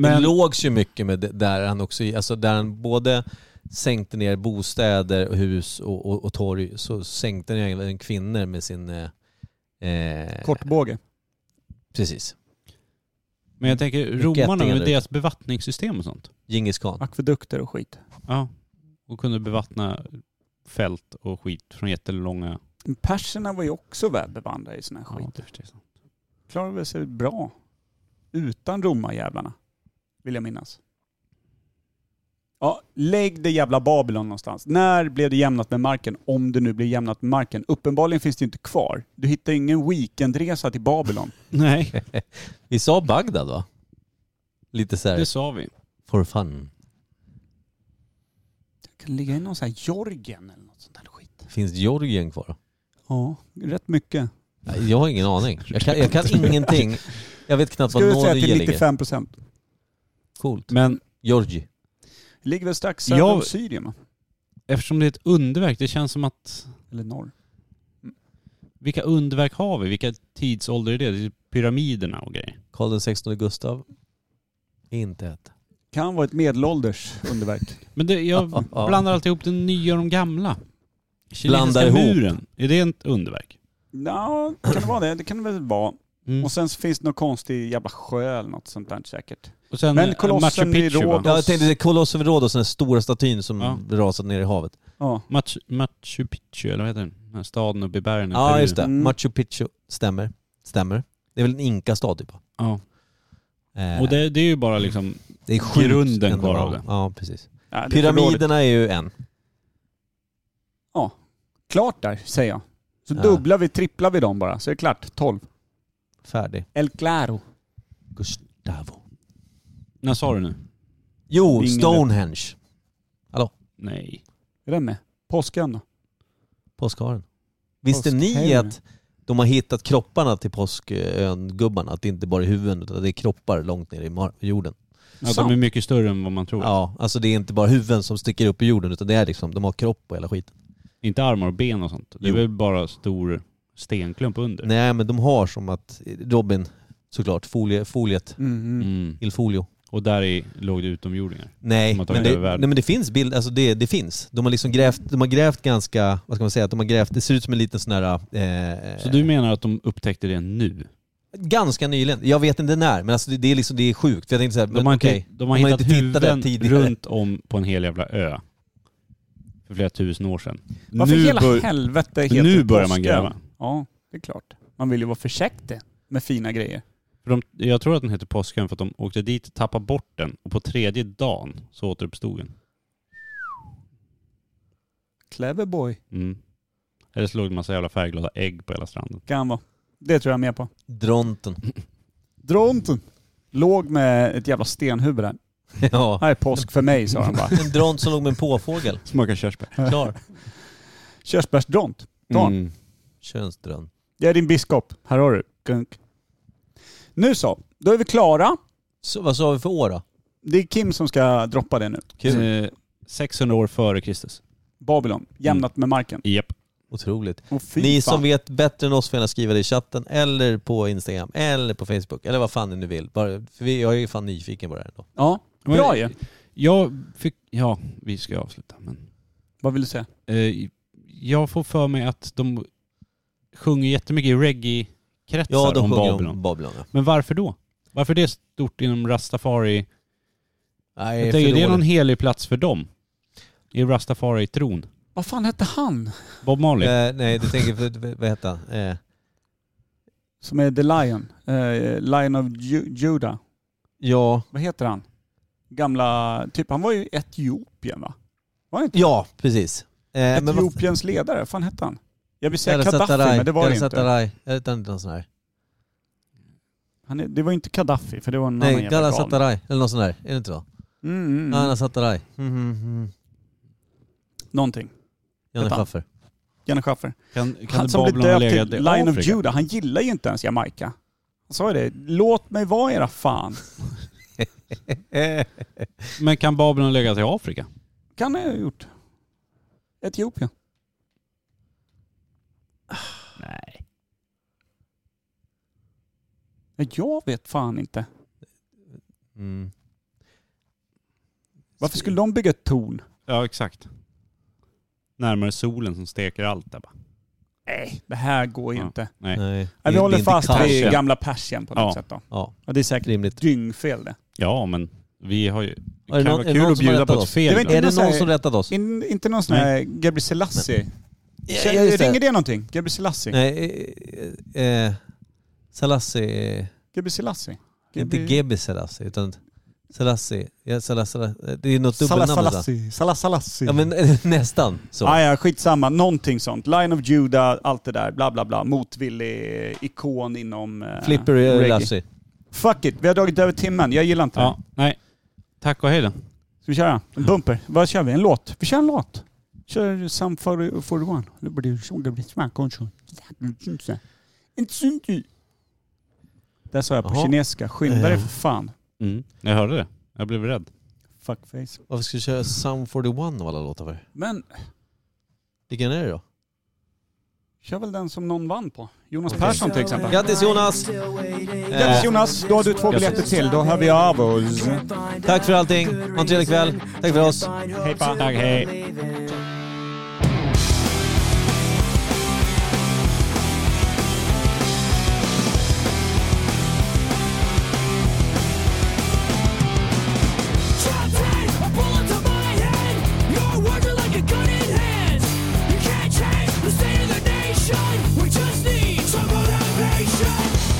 Men lågs ju mycket med det, där han också, alltså där han både sänkte ner bostäder, och hus och, och, och torg, så sänkte han ju även kvinnor med sin... eh, Eh, Kortbåge. Precis. Men jag tänker romarna Gettingar med där deras bevattningssystem och sånt. Djingis khan. Akvedukter och skit. Ja. Och kunde bevattna fält och skit från jättelånga... Men Perserna var ju också väl bevandrade i sån här skit. Ja, det förstår jag. Klarade sig bra. Utan romarjävlarna. Vill jag minnas. Ja, lägg det jävla Babylon någonstans. När blev det jämnat med marken? Om det nu blev jämnat med marken. Uppenbarligen finns det ju inte kvar. Du hittar ingen weekendresa till Babylon. Nej, Vi sa Bagdad va? Lite såhär, det sa vi. for fun. Det kan ligga i någon sån här Jorgen eller något sånt där skit. Finns Georgien kvar? Ja, rätt mycket. Nej, Jag har ingen aning. Jag kan, jag kan ingenting. Jag vet knappt var Skulle jag säga Norge till ligger. 95 procent. Coolt. Men Georgi. Ligger väl strax söder Jag- om Syrien va? eftersom det är ett underverk, det känns som att... Eller norr. Vilka underverk har vi? Vilka tidsålder är det? det är pyramiderna och grejer. Karl XVI Gustav. Inte ett. Kan vara ett medelålders underverk. Men det, jag blandar alltid ihop den nya och de gamla. Blandar Kinesiska ihop. muren, är det ett underverk? Ja, kan det vara det? Det kan det väl vara. Mm. Och sen så finns det någon konstig jävla sjö eller något sånt där säkert. Och sen Men eh, kolossen Machu Picchu i va? Rhodos. Ja, jag tänkte det är Colosseum i Rhodos, den stora statyn som Ja. rasade ner i havet. Ja. Machu, Machu Picchu, eller vad heter den? den här staden uppe i bergen i Ja, Peru. just det. Mm. Machu Picchu. Stämmer. Stämmer. Det är väl en inkastad typ. Ja. Eh, Och det, det är ju bara liksom... det är sjukt grunden ändå. kvar av det. Ja, precis. Ja, det är för dåligt. Pyramiderna är ju en. Klart där, säger jag. Så Ja. dubblar vi, tripplar vi dem bara, så är det klart. 12. Färdig. El Claro. Gustavo. När sa du nu? Jo, Ingen Stonehenge. Nej. Är den med? Påsken då? Påskharen. Visste ni Påskhelgen. att de har hittat kropparna till påskön-gubbarna? Att det inte bara är huvuden utan det är kroppar långt ner i mar- jorden. Ja, Sant. de är Mm-hmm. mycket större än vad man tror. Ja, alltså det är inte bara huvuden som sticker upp i jorden utan det är liksom, de har kropp och hela skiten. Inte armar och ben och sånt. Det är Jo. väl bara stor stenklump under. Nej men de har som att, Robin såklart, folie, foliet, Mm. il folio. Och Och där i, låg det utomjordingar. Nej De men, har tagit det, över nej världen. men det finns bild, alltså det, det finns. De har liksom grävt, de har grävt ganska, vad ska man säga, att de har grävt, det ser ut som en liten sån här... Eh, Så du menar att de upptäckte det nu? Ganska nyligen, jag vet inte när, men alltså det, det är liksom, det är sjukt. För jag tänkte såhär, De men har, okej. inte, de har de har hittat inte tittat där huvuden tidigare. runt om på en hel jävla ö. För flera tusen år sedan. Varför hela bör- helvete heter nu det börjar man Påskön? gräva. Ja, det är klart. Man vill ju vara försiktig med fina grejer. För de, jag tror att den heter Påskön för att de åkte dit, tappade bort den och på tredje dagen så återuppstod den. Clever boy. Mm. Eller så låg det en massa jävla färgglada ägg på hela stranden. Kan han vara. Det tror jag mer på. Dronten. Dronten. Låg med ett jävla stenhuvud där. ja. Här är påsk för mig, sa han bara. En dront som låg med en påfågel. Smakar körsbär. Klar. Körsbärsdront. Ta Mm. Könsdrön. Jag är din biskop. Här har du. Gunk. Nu så, då är vi klara. Så, vad sa vi för år då? Det är Kim som ska droppa det nu. Kul. Eh, 600 år före Kristus. Babylon, jämnat med marken. Japp. Otroligt. Och fy Mm. Ni fan. som vet bättre än oss får gärna skriva det i chatten eller på Instagram eller på Facebook eller vad fan ni nu vill. Bara, för vi, jag är ju fan nyfiken på det här ändå. Ja, bra ju. Jag fick, ja, vi ska ju avsluta men. Vad vill du säga? Eh, jag får för mig att de sjunger jättemycket i reggae-kretsar Ja, de om sjunger Babylon. om Babylon. Ja. Men varför då? Varför är det stort inom rastafari? Nej, Jag för tänker, är det dåligt. någon helig plats för dem? I rastafari-tron? Vad fan hette han Bob Marley? Eh, nej, du tänker, för, vad heter han? Eh, som är The Lion? Eh, Lion of Ju- Judah. ja, Vad heter han? Gamla... Typ, han var ju Etiopien va? Var han inte? ja, precis. Eh, men vad- Etiopiens ledare, vad fan hette han? Jag vill säga Eller Gaddafi, Satarai, men det var det eller inte. Satarai, eller inte någon sån här. Han, är- det var ju inte Gaddafi, för det var en annan Nej, jävla Gala gal. Satarai, eller någon sån här. Är det inte så? Mm, mm, Anna mm. Satarai. Mm, mm, mm. Någonting. Janne Vänta. Schaffer. Janne Schaffer. Kan, kan Han som blev Babylon ha döpt legat till i Lion of Afrika? Judah, han gillar ju inte ens Jamaica. Han sa ju det, låt mig vara era fan. Eh. Men kan Babylon ha legat i Afrika? Kan jag ha gjort. Etiopien. Nej. Men Jag vet fan inte. Mm. Varför skulle de bygga ett torn? Ja, exakt. Närmare solen som steker allt där bara. Nej, det här går ju Ja. inte. Nej. Nej. Nej, vi det- håller det är inte fast kallt. vid Persien. gamla Persien på något Ja. sätt då. Ja, Ja, det är säkert rimligt. dyngfel det. Ja, men vi har ju... Det Är det kan någon- vara är det någon kul att som har bjuda rättat på ett oss? fel. Det vet ibland. Är det så här- någon som rättat oss? In, inte någon sån här Gabriel Selassie. Ja, Känner, just det. ringer det någonting? Gabriel Selassie? Nej, eh, eh, Salassi... Eh, Gabriel Selassie? inte Gabriel- Gebe Selassi, utan Selassi. Ja, Selassi. Det är något Salah dubbelnamn. va? Selassie. Salah Selassie. Ja, men eh, nästan så. Ah, ja, skitsamma. Någonting sånt. Line of Judah, allt det där. Bla, bla, bla. Motvillig ikon inom... eh, Flipper reggae. eh, Lassi. Fuck it, vi har dragit över timmen. Jag gillar inte det. Ja, nej. Tack och hej då. Ska vi köra? En bumper? Vad kör vi? En låt? Vi kör en låt. Kör Some 41. Nu blir det så, det blir smackonsjon. Det sa jag på Jaha. kinesiska. Skynda dig för fan. Mm. Jag hörde det. Jag blev rädd. Fuckface. Varför ska du köra Sum 41 av alla låtar för? Men Vilken är det då? kör väl den som någon vann på. Jonas Persson till exempel. Eh. Grattis Jonas! Grattis Jonas, då har du två biljetter till. Då hör vi av oss. Tack för allting. Ha en trevlig kväll. Tack för oss. Hej på. Tack, hej. Nation.